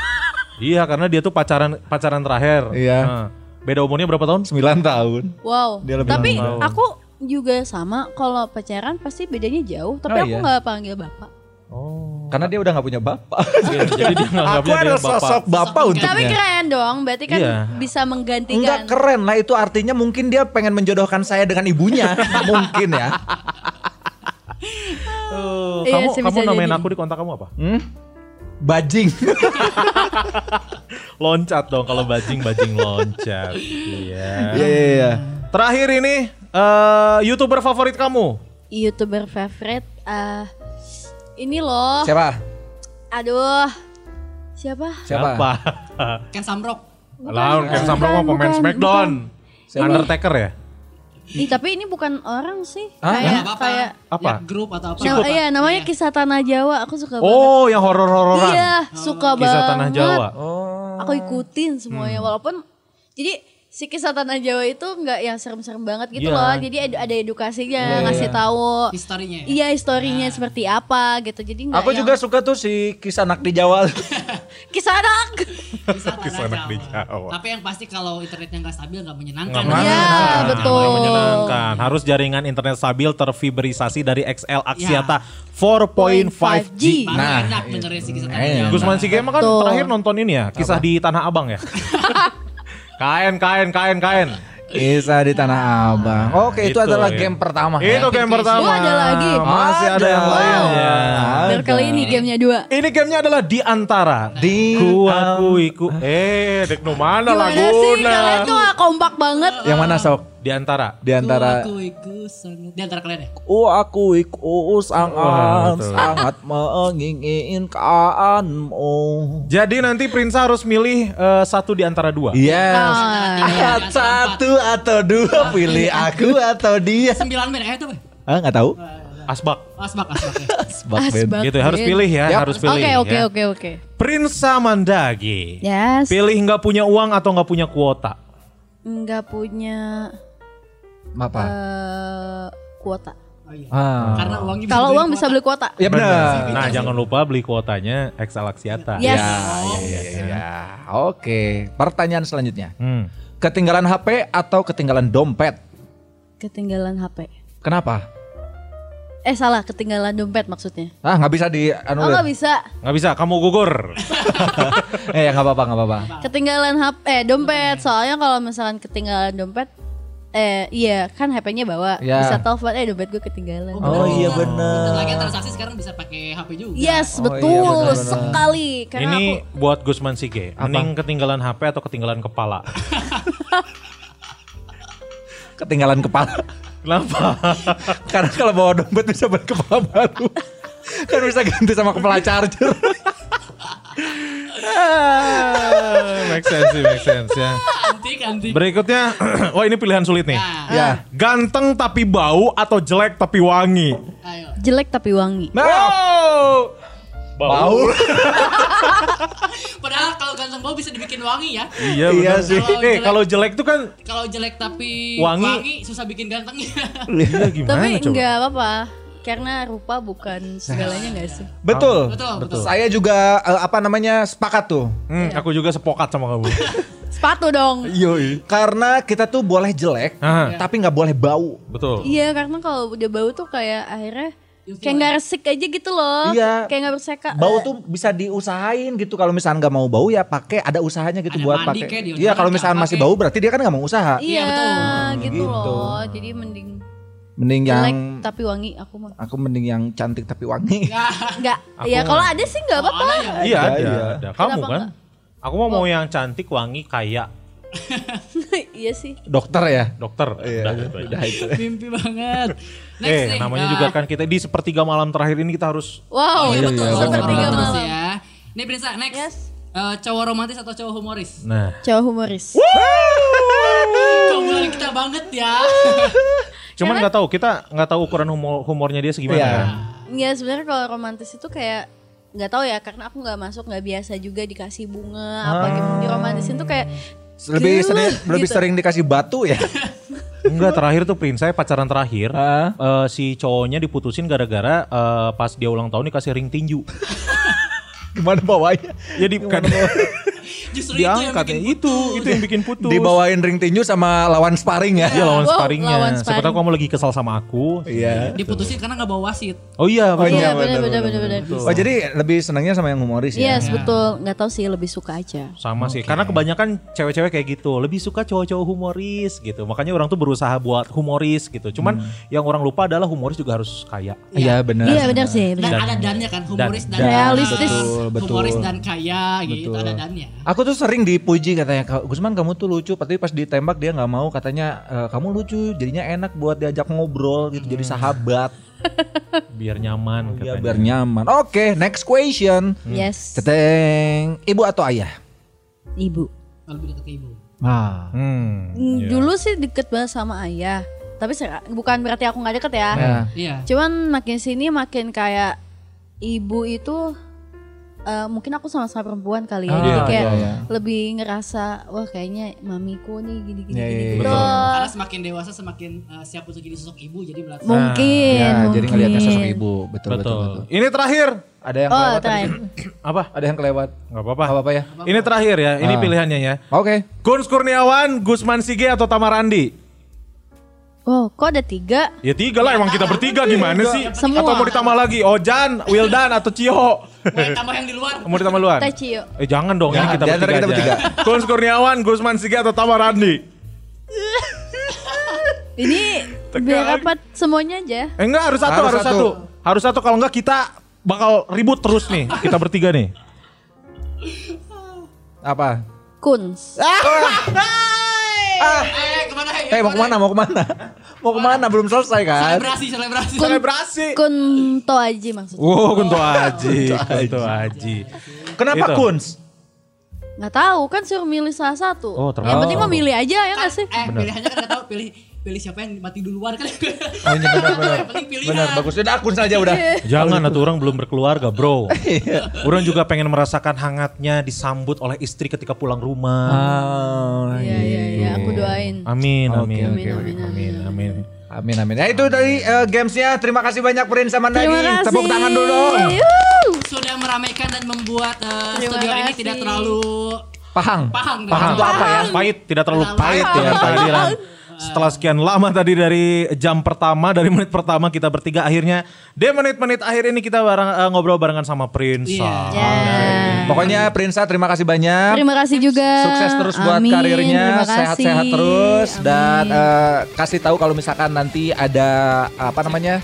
Speaker 2: Iya, karena dia tuh pacaran pacaran terakhir.
Speaker 6: Iya.
Speaker 2: Nah, Beda umurnya berapa tahun?
Speaker 6: 9 tahun.
Speaker 3: Wow.
Speaker 6: Dia lebih
Speaker 3: Tapi
Speaker 6: tahu.
Speaker 3: aku juga sama kalau pacaran pasti bedanya jauh, tapi
Speaker 6: Oh,
Speaker 3: aku
Speaker 6: iya.
Speaker 3: nggak panggil bapak.
Speaker 6: Karena dia udah nggak punya bapak.
Speaker 2: Iya, Jadi dia
Speaker 6: Aku
Speaker 2: nganggapnya dia
Speaker 6: adalah
Speaker 2: bapak.
Speaker 6: sosok bapak
Speaker 3: Tapi
Speaker 6: untuknya.
Speaker 3: keren dong, berarti kan
Speaker 2: Iya.
Speaker 3: bisa menggantikan.
Speaker 6: Enggak keren lah itu artinya mungkin dia pengen menjodohkan saya dengan ibunya. mungkin ya.
Speaker 2: Eh,
Speaker 3: Iya
Speaker 2: Kamu
Speaker 3: sih,
Speaker 2: kamu
Speaker 3: bisa
Speaker 2: namain
Speaker 3: jadi.
Speaker 2: aku di kontak kamu apa?
Speaker 6: Bajing.
Speaker 2: Loncat dong kalau bajing bajing loncat. Iya.
Speaker 6: Iya iya iya.
Speaker 2: Terakhir ini eh, youtuber favorit kamu?
Speaker 3: YouTuber favorite eh ini loh.
Speaker 6: Siapa?
Speaker 3: Aduh. Siapa?
Speaker 6: Siapa?
Speaker 4: Kan samrok.
Speaker 2: Lah,
Speaker 3: bukan,
Speaker 2: Ken Samro mah pemain
Speaker 3: bukan,
Speaker 2: Smackdown.
Speaker 6: Siapa?
Speaker 2: Undertaker ya?
Speaker 3: Ih, tapi ini bukan orang sih.
Speaker 6: Hah?
Speaker 3: Kayak
Speaker 4: Nggak apa-apa.
Speaker 3: kayak
Speaker 2: Apa?
Speaker 4: Lihat grup atau apa?
Speaker 3: Nah, iya, namanya kisah tanah Jawa. Aku suka banget.
Speaker 2: Oh, yang horor-hororan.
Speaker 3: Iya, suka banget. Ah,
Speaker 2: Kisah Tanah Jawa. Oh,
Speaker 3: Aku ikutin semuanya
Speaker 2: Hmm.
Speaker 3: walaupun jadi si kisah tanah Jawa itu nggak yang serem-serem banget gitu
Speaker 2: Iya.
Speaker 3: loh. Jadi edu- ada edukasinya, ngasih tahu
Speaker 4: Historinya ya?
Speaker 3: Iya, historinya
Speaker 2: Nah.
Speaker 3: seperti apa gitu. Jadi nggak
Speaker 6: Aku
Speaker 3: yang-
Speaker 6: juga suka tuh si kisah anak di Jawa.
Speaker 3: kisah anak.
Speaker 4: Kisah tanah
Speaker 2: Kisah anak di Jawa.
Speaker 4: Jawa. Tapi yang pasti kalau internetnya nggak stabil nggak menyenangkan.
Speaker 3: Iya,
Speaker 2: Nggak menyenangkan,
Speaker 3: betul.
Speaker 2: nggak menyenangkan. Harus jaringan internet stabil terfiberisasi dari XL
Speaker 3: Ya.
Speaker 2: Axiata 4.5G.
Speaker 4: Baru
Speaker 6: Nah,
Speaker 4: enak
Speaker 2: iya.
Speaker 4: dengerin sih kisah tanah
Speaker 6: Eh,
Speaker 4: Jawa.
Speaker 2: Gusman Sige mah kan
Speaker 3: Betul.
Speaker 2: terakhir nonton ini ya, kisah di Tanah Abang ya. kain, kain, kain, kain.
Speaker 6: Kisah di Tanah Abang. Oke, itu,
Speaker 2: Itu
Speaker 6: adalah
Speaker 2: ya.
Speaker 6: game pertama.
Speaker 2: Itu game pertama.
Speaker 3: Oh, ada lagi.
Speaker 2: Masih ada yang
Speaker 6: Wow.
Speaker 2: lain ya.
Speaker 3: Biar kali ini gamenya dua.
Speaker 2: Ini gamenya adalah Di Antara.
Speaker 6: Di
Speaker 2: Ku aku iku. Eh, dek nu mana
Speaker 3: Gimana sih kalian
Speaker 2: laguna? Ya,
Speaker 3: tuh nggak kompak banget.
Speaker 6: yang mana sok?
Speaker 2: Di Antara.
Speaker 6: Di antara
Speaker 4: Aku ikut sangat. Di antara kalian ya?
Speaker 6: Oh aku iku
Speaker 2: Wah,
Speaker 6: sangat
Speaker 2: betul.
Speaker 6: sangat menginginkanmu.
Speaker 2: Jadi nanti Prinsa harus milih eh, satu di antara dua.
Speaker 6: Yes.
Speaker 3: Nah,
Speaker 4: Tiga,
Speaker 6: iya,
Speaker 4: tiga, Oh, iya.
Speaker 6: Satu atau dua pilih aku atau dia.
Speaker 4: Sembilan men eh itu apa?
Speaker 6: Ah nggak tahu.
Speaker 2: Asbak.
Speaker 4: Asbak asbak ya.
Speaker 3: Asbak
Speaker 2: Gitu ya, harus
Speaker 3: Ben.
Speaker 2: pilih ya,
Speaker 6: Yap.
Speaker 2: harus pilih.
Speaker 3: Oke
Speaker 2: ya.
Speaker 3: oke oke oke.
Speaker 2: Prinsa Mandagi.
Speaker 3: Yes.
Speaker 2: Pilih nggak punya uang atau nggak punya kuota?
Speaker 3: Nggak punya
Speaker 6: Apa?
Speaker 3: eh, kuota.
Speaker 4: Oh, iya.
Speaker 6: Ah.
Speaker 4: Karena uangnya bisa
Speaker 3: Kalau
Speaker 4: beli
Speaker 3: uang bisa
Speaker 4: kuota.
Speaker 3: beli kuota.
Speaker 6: Ya benar.
Speaker 3: gitu.
Speaker 2: Nah, jangan lupa beli kuotanya Ya. Exalaxiata.
Speaker 3: Yes.
Speaker 6: Ya, oke. Pertanyaan selanjutnya.
Speaker 2: Hmm.
Speaker 6: Ketinggalan HP atau ketinggalan dompet?
Speaker 3: Ketinggalan HP.
Speaker 6: Kenapa?
Speaker 3: Eh salah, ketinggalan dompet maksudnya.
Speaker 6: Ah, nggak bisa di anu.
Speaker 3: Oh
Speaker 6: deh.
Speaker 3: nggak bisa.
Speaker 2: Nggak bisa, kamu gugur.
Speaker 6: Eh, ya, nggak apa-apa, nggak apa-apa.
Speaker 3: Ketinggalan HP eh dompet. Soalnya kalau misalkan ketinggalan dompet eh iya kan HP-nya bawa
Speaker 6: Ya.
Speaker 3: bisa telepon eh dompet gue ketinggalan.
Speaker 4: bener
Speaker 6: Oh, iya
Speaker 4: juga.
Speaker 6: bener.
Speaker 4: Bentar lagi transaksi sekarang bisa pakai HP juga.
Speaker 3: Yes,
Speaker 6: Oh, iya,
Speaker 3: betul
Speaker 6: benar-benar.
Speaker 3: sekali karena
Speaker 2: Ini
Speaker 3: aku
Speaker 2: buat Gusman Sige. Mending ketinggalan HP atau ketinggalan kepala?
Speaker 6: Ketinggalan kepala.
Speaker 2: Kenapa?
Speaker 6: Karena kalau bawa dompet bisa beli kepala baru. kan bisa ganti sama kepala charger.
Speaker 2: make sense sih, make sense ya.
Speaker 4: Antik antik.
Speaker 2: Berikutnya, wah ini pilihan sulit nih.
Speaker 4: Nah,
Speaker 6: ya.
Speaker 2: Ganteng tapi bau atau jelek tapi wangi?
Speaker 4: ayo.
Speaker 3: jelek tapi wangi.
Speaker 6: Nah, bau.
Speaker 4: Padahal kalau ganteng bau bisa dibikin wangi ya.
Speaker 2: Iya,
Speaker 6: Iya
Speaker 2: benar.
Speaker 6: sih.
Speaker 2: Eh,
Speaker 4: Kalau jelek-
Speaker 2: kalau jelek tuh kan
Speaker 4: Kalau jelek tapi
Speaker 2: Wangi.
Speaker 4: wangi, susah bikin gantengnya.
Speaker 2: Iya gimana
Speaker 3: tapi
Speaker 2: coba?
Speaker 3: nggak apa-apa karena rupa bukan segalanya nggak sih.
Speaker 6: Betul.
Speaker 4: Betul, betul.
Speaker 6: Saya juga eh, apa namanya sepakat tuh.
Speaker 2: Hmm, aku juga sepokat sama kamu.
Speaker 3: Sepatu dong.
Speaker 6: Karena kita tuh boleh jelek,
Speaker 4: Iya.
Speaker 2: Aha.
Speaker 6: tapi nggak boleh bau.
Speaker 2: Betul.
Speaker 3: Iya karena kalau udah bau tuh kayak akhirnya kayak nggak resik aja gitu loh.
Speaker 6: Iya.
Speaker 3: Kayak nggak berseka.
Speaker 4: Ya,
Speaker 3: Eh,
Speaker 6: Bau
Speaker 4: eh.
Speaker 6: tuh bisa diusahain gitu. Kalau misalnya nggak mau bau ya pakai ada usahanya gitu
Speaker 4: Ada
Speaker 6: buat
Speaker 4: mandi
Speaker 6: pakai.
Speaker 4: kayak di
Speaker 6: Iya,
Speaker 4: deodorant
Speaker 6: kalau misalnya
Speaker 4: nggak
Speaker 6: masih
Speaker 4: pakai.
Speaker 6: bau berarti dia kan nggak mau usaha.
Speaker 3: Iya,
Speaker 4: Iya, betul.
Speaker 3: gitu,
Speaker 6: Gitu.
Speaker 3: loh. Jadi mending
Speaker 6: Mending
Speaker 3: jelek
Speaker 6: yang
Speaker 3: tapi wangi aku mah.
Speaker 6: aku mending yang cantik tapi wangi.
Speaker 3: Enggak. Ya kalau ada sih enggak apa-apa.
Speaker 4: ya?
Speaker 2: Iya ada,
Speaker 6: iya.
Speaker 2: ada. Kamu
Speaker 3: Kenapa
Speaker 2: kan? Aku mau mau yang cantik, wangi, kayak
Speaker 3: iya sih.
Speaker 6: Dokter ya.
Speaker 2: dokter. Udah gitu aja.
Speaker 4: Mimpi banget. Next
Speaker 2: Eh,
Speaker 4: nih.
Speaker 2: namanya
Speaker 4: Nah,
Speaker 2: juga kan kita di sepertiga malam terakhir ini kita harus
Speaker 3: Wow,
Speaker 6: iya,
Speaker 3: Oh, betul.
Speaker 6: iya,
Speaker 3: Sepertiga
Speaker 6: benar.
Speaker 4: terus
Speaker 3: malam.
Speaker 4: ya. Nih Prinsa, next.
Speaker 3: Yes.
Speaker 4: Eh, cowok romantis atau cowok humoris?
Speaker 2: Nah,
Speaker 3: Cowok humoris.
Speaker 4: Keunggulan kita banget ya.
Speaker 2: cuman nggak tahu kita nggak tahu ukuran humor humornya dia segimana.
Speaker 6: Iya.
Speaker 2: kan.
Speaker 3: Iya, sebenarnya kalau romantis itu kayak nggak tahu ya karena aku nggak masuk nggak biasa juga dikasih bunga apa gimana di romantisin tuh kayak
Speaker 6: Ah. Lebih
Speaker 3: "Duh,"
Speaker 6: sering, lebih
Speaker 3: gitu.
Speaker 6: sering dikasih batu ya.
Speaker 2: Enggak terakhir tuh Prince, saya pacaran terakhir
Speaker 6: Ah.
Speaker 2: eh, si cowoknya diputusin gara-gara eh, pas dia ulang tahun dikasih ring tinju.
Speaker 6: Gimana bawanya?
Speaker 2: Jadi bukan
Speaker 4: Justru itu yang
Speaker 2: diangkat ya,
Speaker 4: bikin
Speaker 2: itu itu yang bikin putus.
Speaker 6: Dibawain ring tinju sama lawan sparring ya.
Speaker 2: Iya lawan
Speaker 3: Wow,
Speaker 2: sparringnya.
Speaker 3: lawan
Speaker 2: Siapa tahu
Speaker 3: sparring.
Speaker 2: kamu lagi kesal sama aku.
Speaker 6: Iya.
Speaker 4: diputusin karena nggak bawa wasit.
Speaker 2: Oh iya, betul.
Speaker 3: Iya, benar benar benar benar.
Speaker 6: Oh jadi lebih senangnya sama yang humoris ya.
Speaker 3: Yes, betul. Nggak tahu sih lebih suka aja.
Speaker 2: Sama sih, karena kebanyakan cewek-cewek kayak gitu lebih suka cowok-cowok humoris gitu. Makanya orang tuh berusaha buat humoris gitu. Cuman yang orang lupa adalah humoris juga harus kaya.
Speaker 6: Iya benar.
Speaker 3: Iya, benar sih,
Speaker 4: Dan,
Speaker 3: benar.
Speaker 4: ada dannya kan, humoris dan,
Speaker 3: dan. Realistis.
Speaker 6: Betul, betul.
Speaker 4: Humoris dan kaya gitu,
Speaker 6: Betul.
Speaker 4: ada dannya.
Speaker 6: Aku tuh sering dipuji katanya, "Kak, Gusman kamu tuh lucu, tapi pas ditembak dia nggak mau katanya "E, kamu lucu, jadinya enak buat diajak ngobrol gitu,
Speaker 3: Hmm.
Speaker 6: jadi sahabat,
Speaker 2: Iya, Biar nyaman
Speaker 6: ya,
Speaker 2: katanya.
Speaker 6: biar nyaman. Oke, next question.
Speaker 3: Hmm. Yes.
Speaker 6: Ceteng, ibu atau ayah?
Speaker 3: Ibu.
Speaker 4: Kalau lebih dekat ke ibu.
Speaker 6: Nah,
Speaker 2: Hmm.
Speaker 3: Mm, Dulu sih deket banget sama ayah, tapi sera- bukan berarti aku nggak deket ya.
Speaker 6: Nah.
Speaker 4: Iya.
Speaker 3: Cuman makin sini makin kayak ibu itu eh, mungkin aku sama-sama peremcuan kali ya,
Speaker 6: Ah,
Speaker 3: jadi kayak
Speaker 6: iya, iya.
Speaker 3: lebih ngerasa wah kayaknya mamiku nih gini-gini
Speaker 6: Iya, iya,
Speaker 3: gini
Speaker 6: iya.
Speaker 3: gitu.
Speaker 4: Karena semakin dewasa semakin eh, siap untuk jadi sosok ibu jadi berarti
Speaker 3: Mungkin,
Speaker 6: ya
Speaker 3: mungkin.
Speaker 6: jadi ngelihatnya sosok ibu, betul
Speaker 2: Betul.
Speaker 6: betul. betul.
Speaker 2: Ini terakhir.
Speaker 6: Ada yang
Speaker 3: Oh,
Speaker 6: kelewat,
Speaker 3: terakhir.
Speaker 2: Apa?
Speaker 6: ada yang kelewat.
Speaker 2: Gak apa-apa.
Speaker 6: Apa apa ya?
Speaker 2: Ini terakhir ya, ini pilihannya ya.
Speaker 6: Oke.
Speaker 2: Guns Kurniawan, Gusman Sige atau Tamarandi?
Speaker 3: Oh, kok ada tiga?
Speaker 2: Ya tiga lah, emang kita bertiga gimana sih?
Speaker 3: Semua.
Speaker 2: Atau mau ditambah lagi? Ojan, Wildan atau Cio?
Speaker 4: Mulai tambah yang di luar.
Speaker 2: Mau ditambah
Speaker 6: Kan.
Speaker 2: luar?
Speaker 3: Tacio.
Speaker 2: Eh jangan dong, ini
Speaker 6: Jangan,
Speaker 2: kita
Speaker 6: di antara
Speaker 2: bertiga,
Speaker 6: kita
Speaker 2: aja. Guns Kurniawan, Gusman Sige atau Tamarandi?
Speaker 3: Ini biar apa semuanya aja.
Speaker 2: Eh enggak, harus satu, harus,
Speaker 6: Harus
Speaker 2: satu.
Speaker 6: satu.
Speaker 2: Harus satu, kalau enggak kita bakal ribut terus nih. Kita bertiga nih.
Speaker 6: Apa?
Speaker 3: Kuns.
Speaker 6: Ah.
Speaker 4: Eh, kemana? Hei?
Speaker 6: Eh mau kemana? Mau kemana? mau kemana? Belum selesai kan?
Speaker 4: Selebrasi, selebrasi.
Speaker 3: Kun-
Speaker 2: Selebrasi.
Speaker 3: Kunto Aji maksudnya.
Speaker 2: Wow, Kunto Aji, Kunto Aji.
Speaker 6: Kenapa
Speaker 2: Itu.
Speaker 6: Kuns?
Speaker 3: Nggak tahu kan suruh milih salah satu.
Speaker 2: Oh,
Speaker 3: Yang
Speaker 2: terpaksa.
Speaker 3: penting mah milih aja ya nggak sih?
Speaker 4: Eh, pilihannya kan nggak tahu pilih pilih siapa yang mati duluan kan.
Speaker 6: Oh, iya, benar, benar.
Speaker 4: Yang penting pilihan.
Speaker 6: Benar, bagus. Udah akun saja udah.
Speaker 3: Iya.
Speaker 2: Jangan atau orang belum berkeluarga bro Orang juga pengen merasakan hangatnya disambut oleh istri ketika pulang rumah
Speaker 6: Eh, Ah,
Speaker 3: Iya iya iya, aku doain.
Speaker 2: Amin amin
Speaker 3: Amin, amin,
Speaker 2: amin amin
Speaker 6: Amin amin. Ya itu dari eh, gamesnya. Terima kasih banyak Prin sama Nagi.
Speaker 3: Terima kasih.
Speaker 6: Tepuk tangan dulu. dong.
Speaker 3: Yuh.
Speaker 4: Sudah meramaikan dan membuat eh,
Speaker 3: Terima
Speaker 4: studio ini
Speaker 3: kasih.
Speaker 4: tidak terlalu
Speaker 6: Pahang.
Speaker 4: paham. kan? dengan
Speaker 2: Paham
Speaker 4: semua.
Speaker 2: apa ya? Pahit, tidak terlalu
Speaker 4: Terlalu
Speaker 2: pahit ya kehadiran. Setelah sekian lama tadi dari jam pertama, dari menit pertama kita bertiga akhirnya di menit-menit akhir ini kita bareng, eh, ngobrol barengan sama Prince.
Speaker 4: Iya.
Speaker 3: Ya.
Speaker 6: Pokoknya Prinsa terima kasih banyak.
Speaker 3: Terima kasih juga.
Speaker 6: Sukses terus buat
Speaker 3: Amin,
Speaker 6: karirnya,
Speaker 3: terima kasih.
Speaker 6: sehat-sehat terus
Speaker 3: Amin.
Speaker 6: dan eh, kasih tahu kalau misalkan nanti ada apa namanya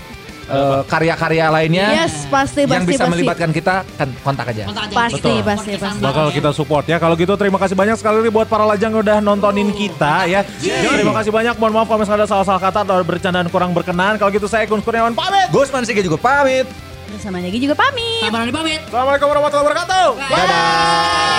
Speaker 6: eh, karya-karya lainnya
Speaker 3: Yes, pasti
Speaker 6: yang
Speaker 3: pasti
Speaker 6: bisa
Speaker 3: pasti.
Speaker 6: melibatkan kita, kan kontak aja.
Speaker 4: Kontak aja.
Speaker 3: Pasti,
Speaker 4: Betul.
Speaker 3: pasti,
Speaker 4: Podcast
Speaker 3: pasti.
Speaker 4: Anda.
Speaker 2: Bakal kita support ya. Kalau gitu terima kasih banyak sekali nih buat para lajang yang udah nontonin kita ya. Terima kasih banyak. Mohon maaf kalau misalnya ada salah-salah kata atau bercandaan kurang berkenan. Kalau gitu saya Gun Kurniawan pamit.
Speaker 6: Gusman Sige juga pamit.
Speaker 3: Bersama Negi juga pamit.
Speaker 4: Kabar dari pamit.
Speaker 2: Assalamualaikum warahmatullahi wabarakatuh.
Speaker 6: Dadah.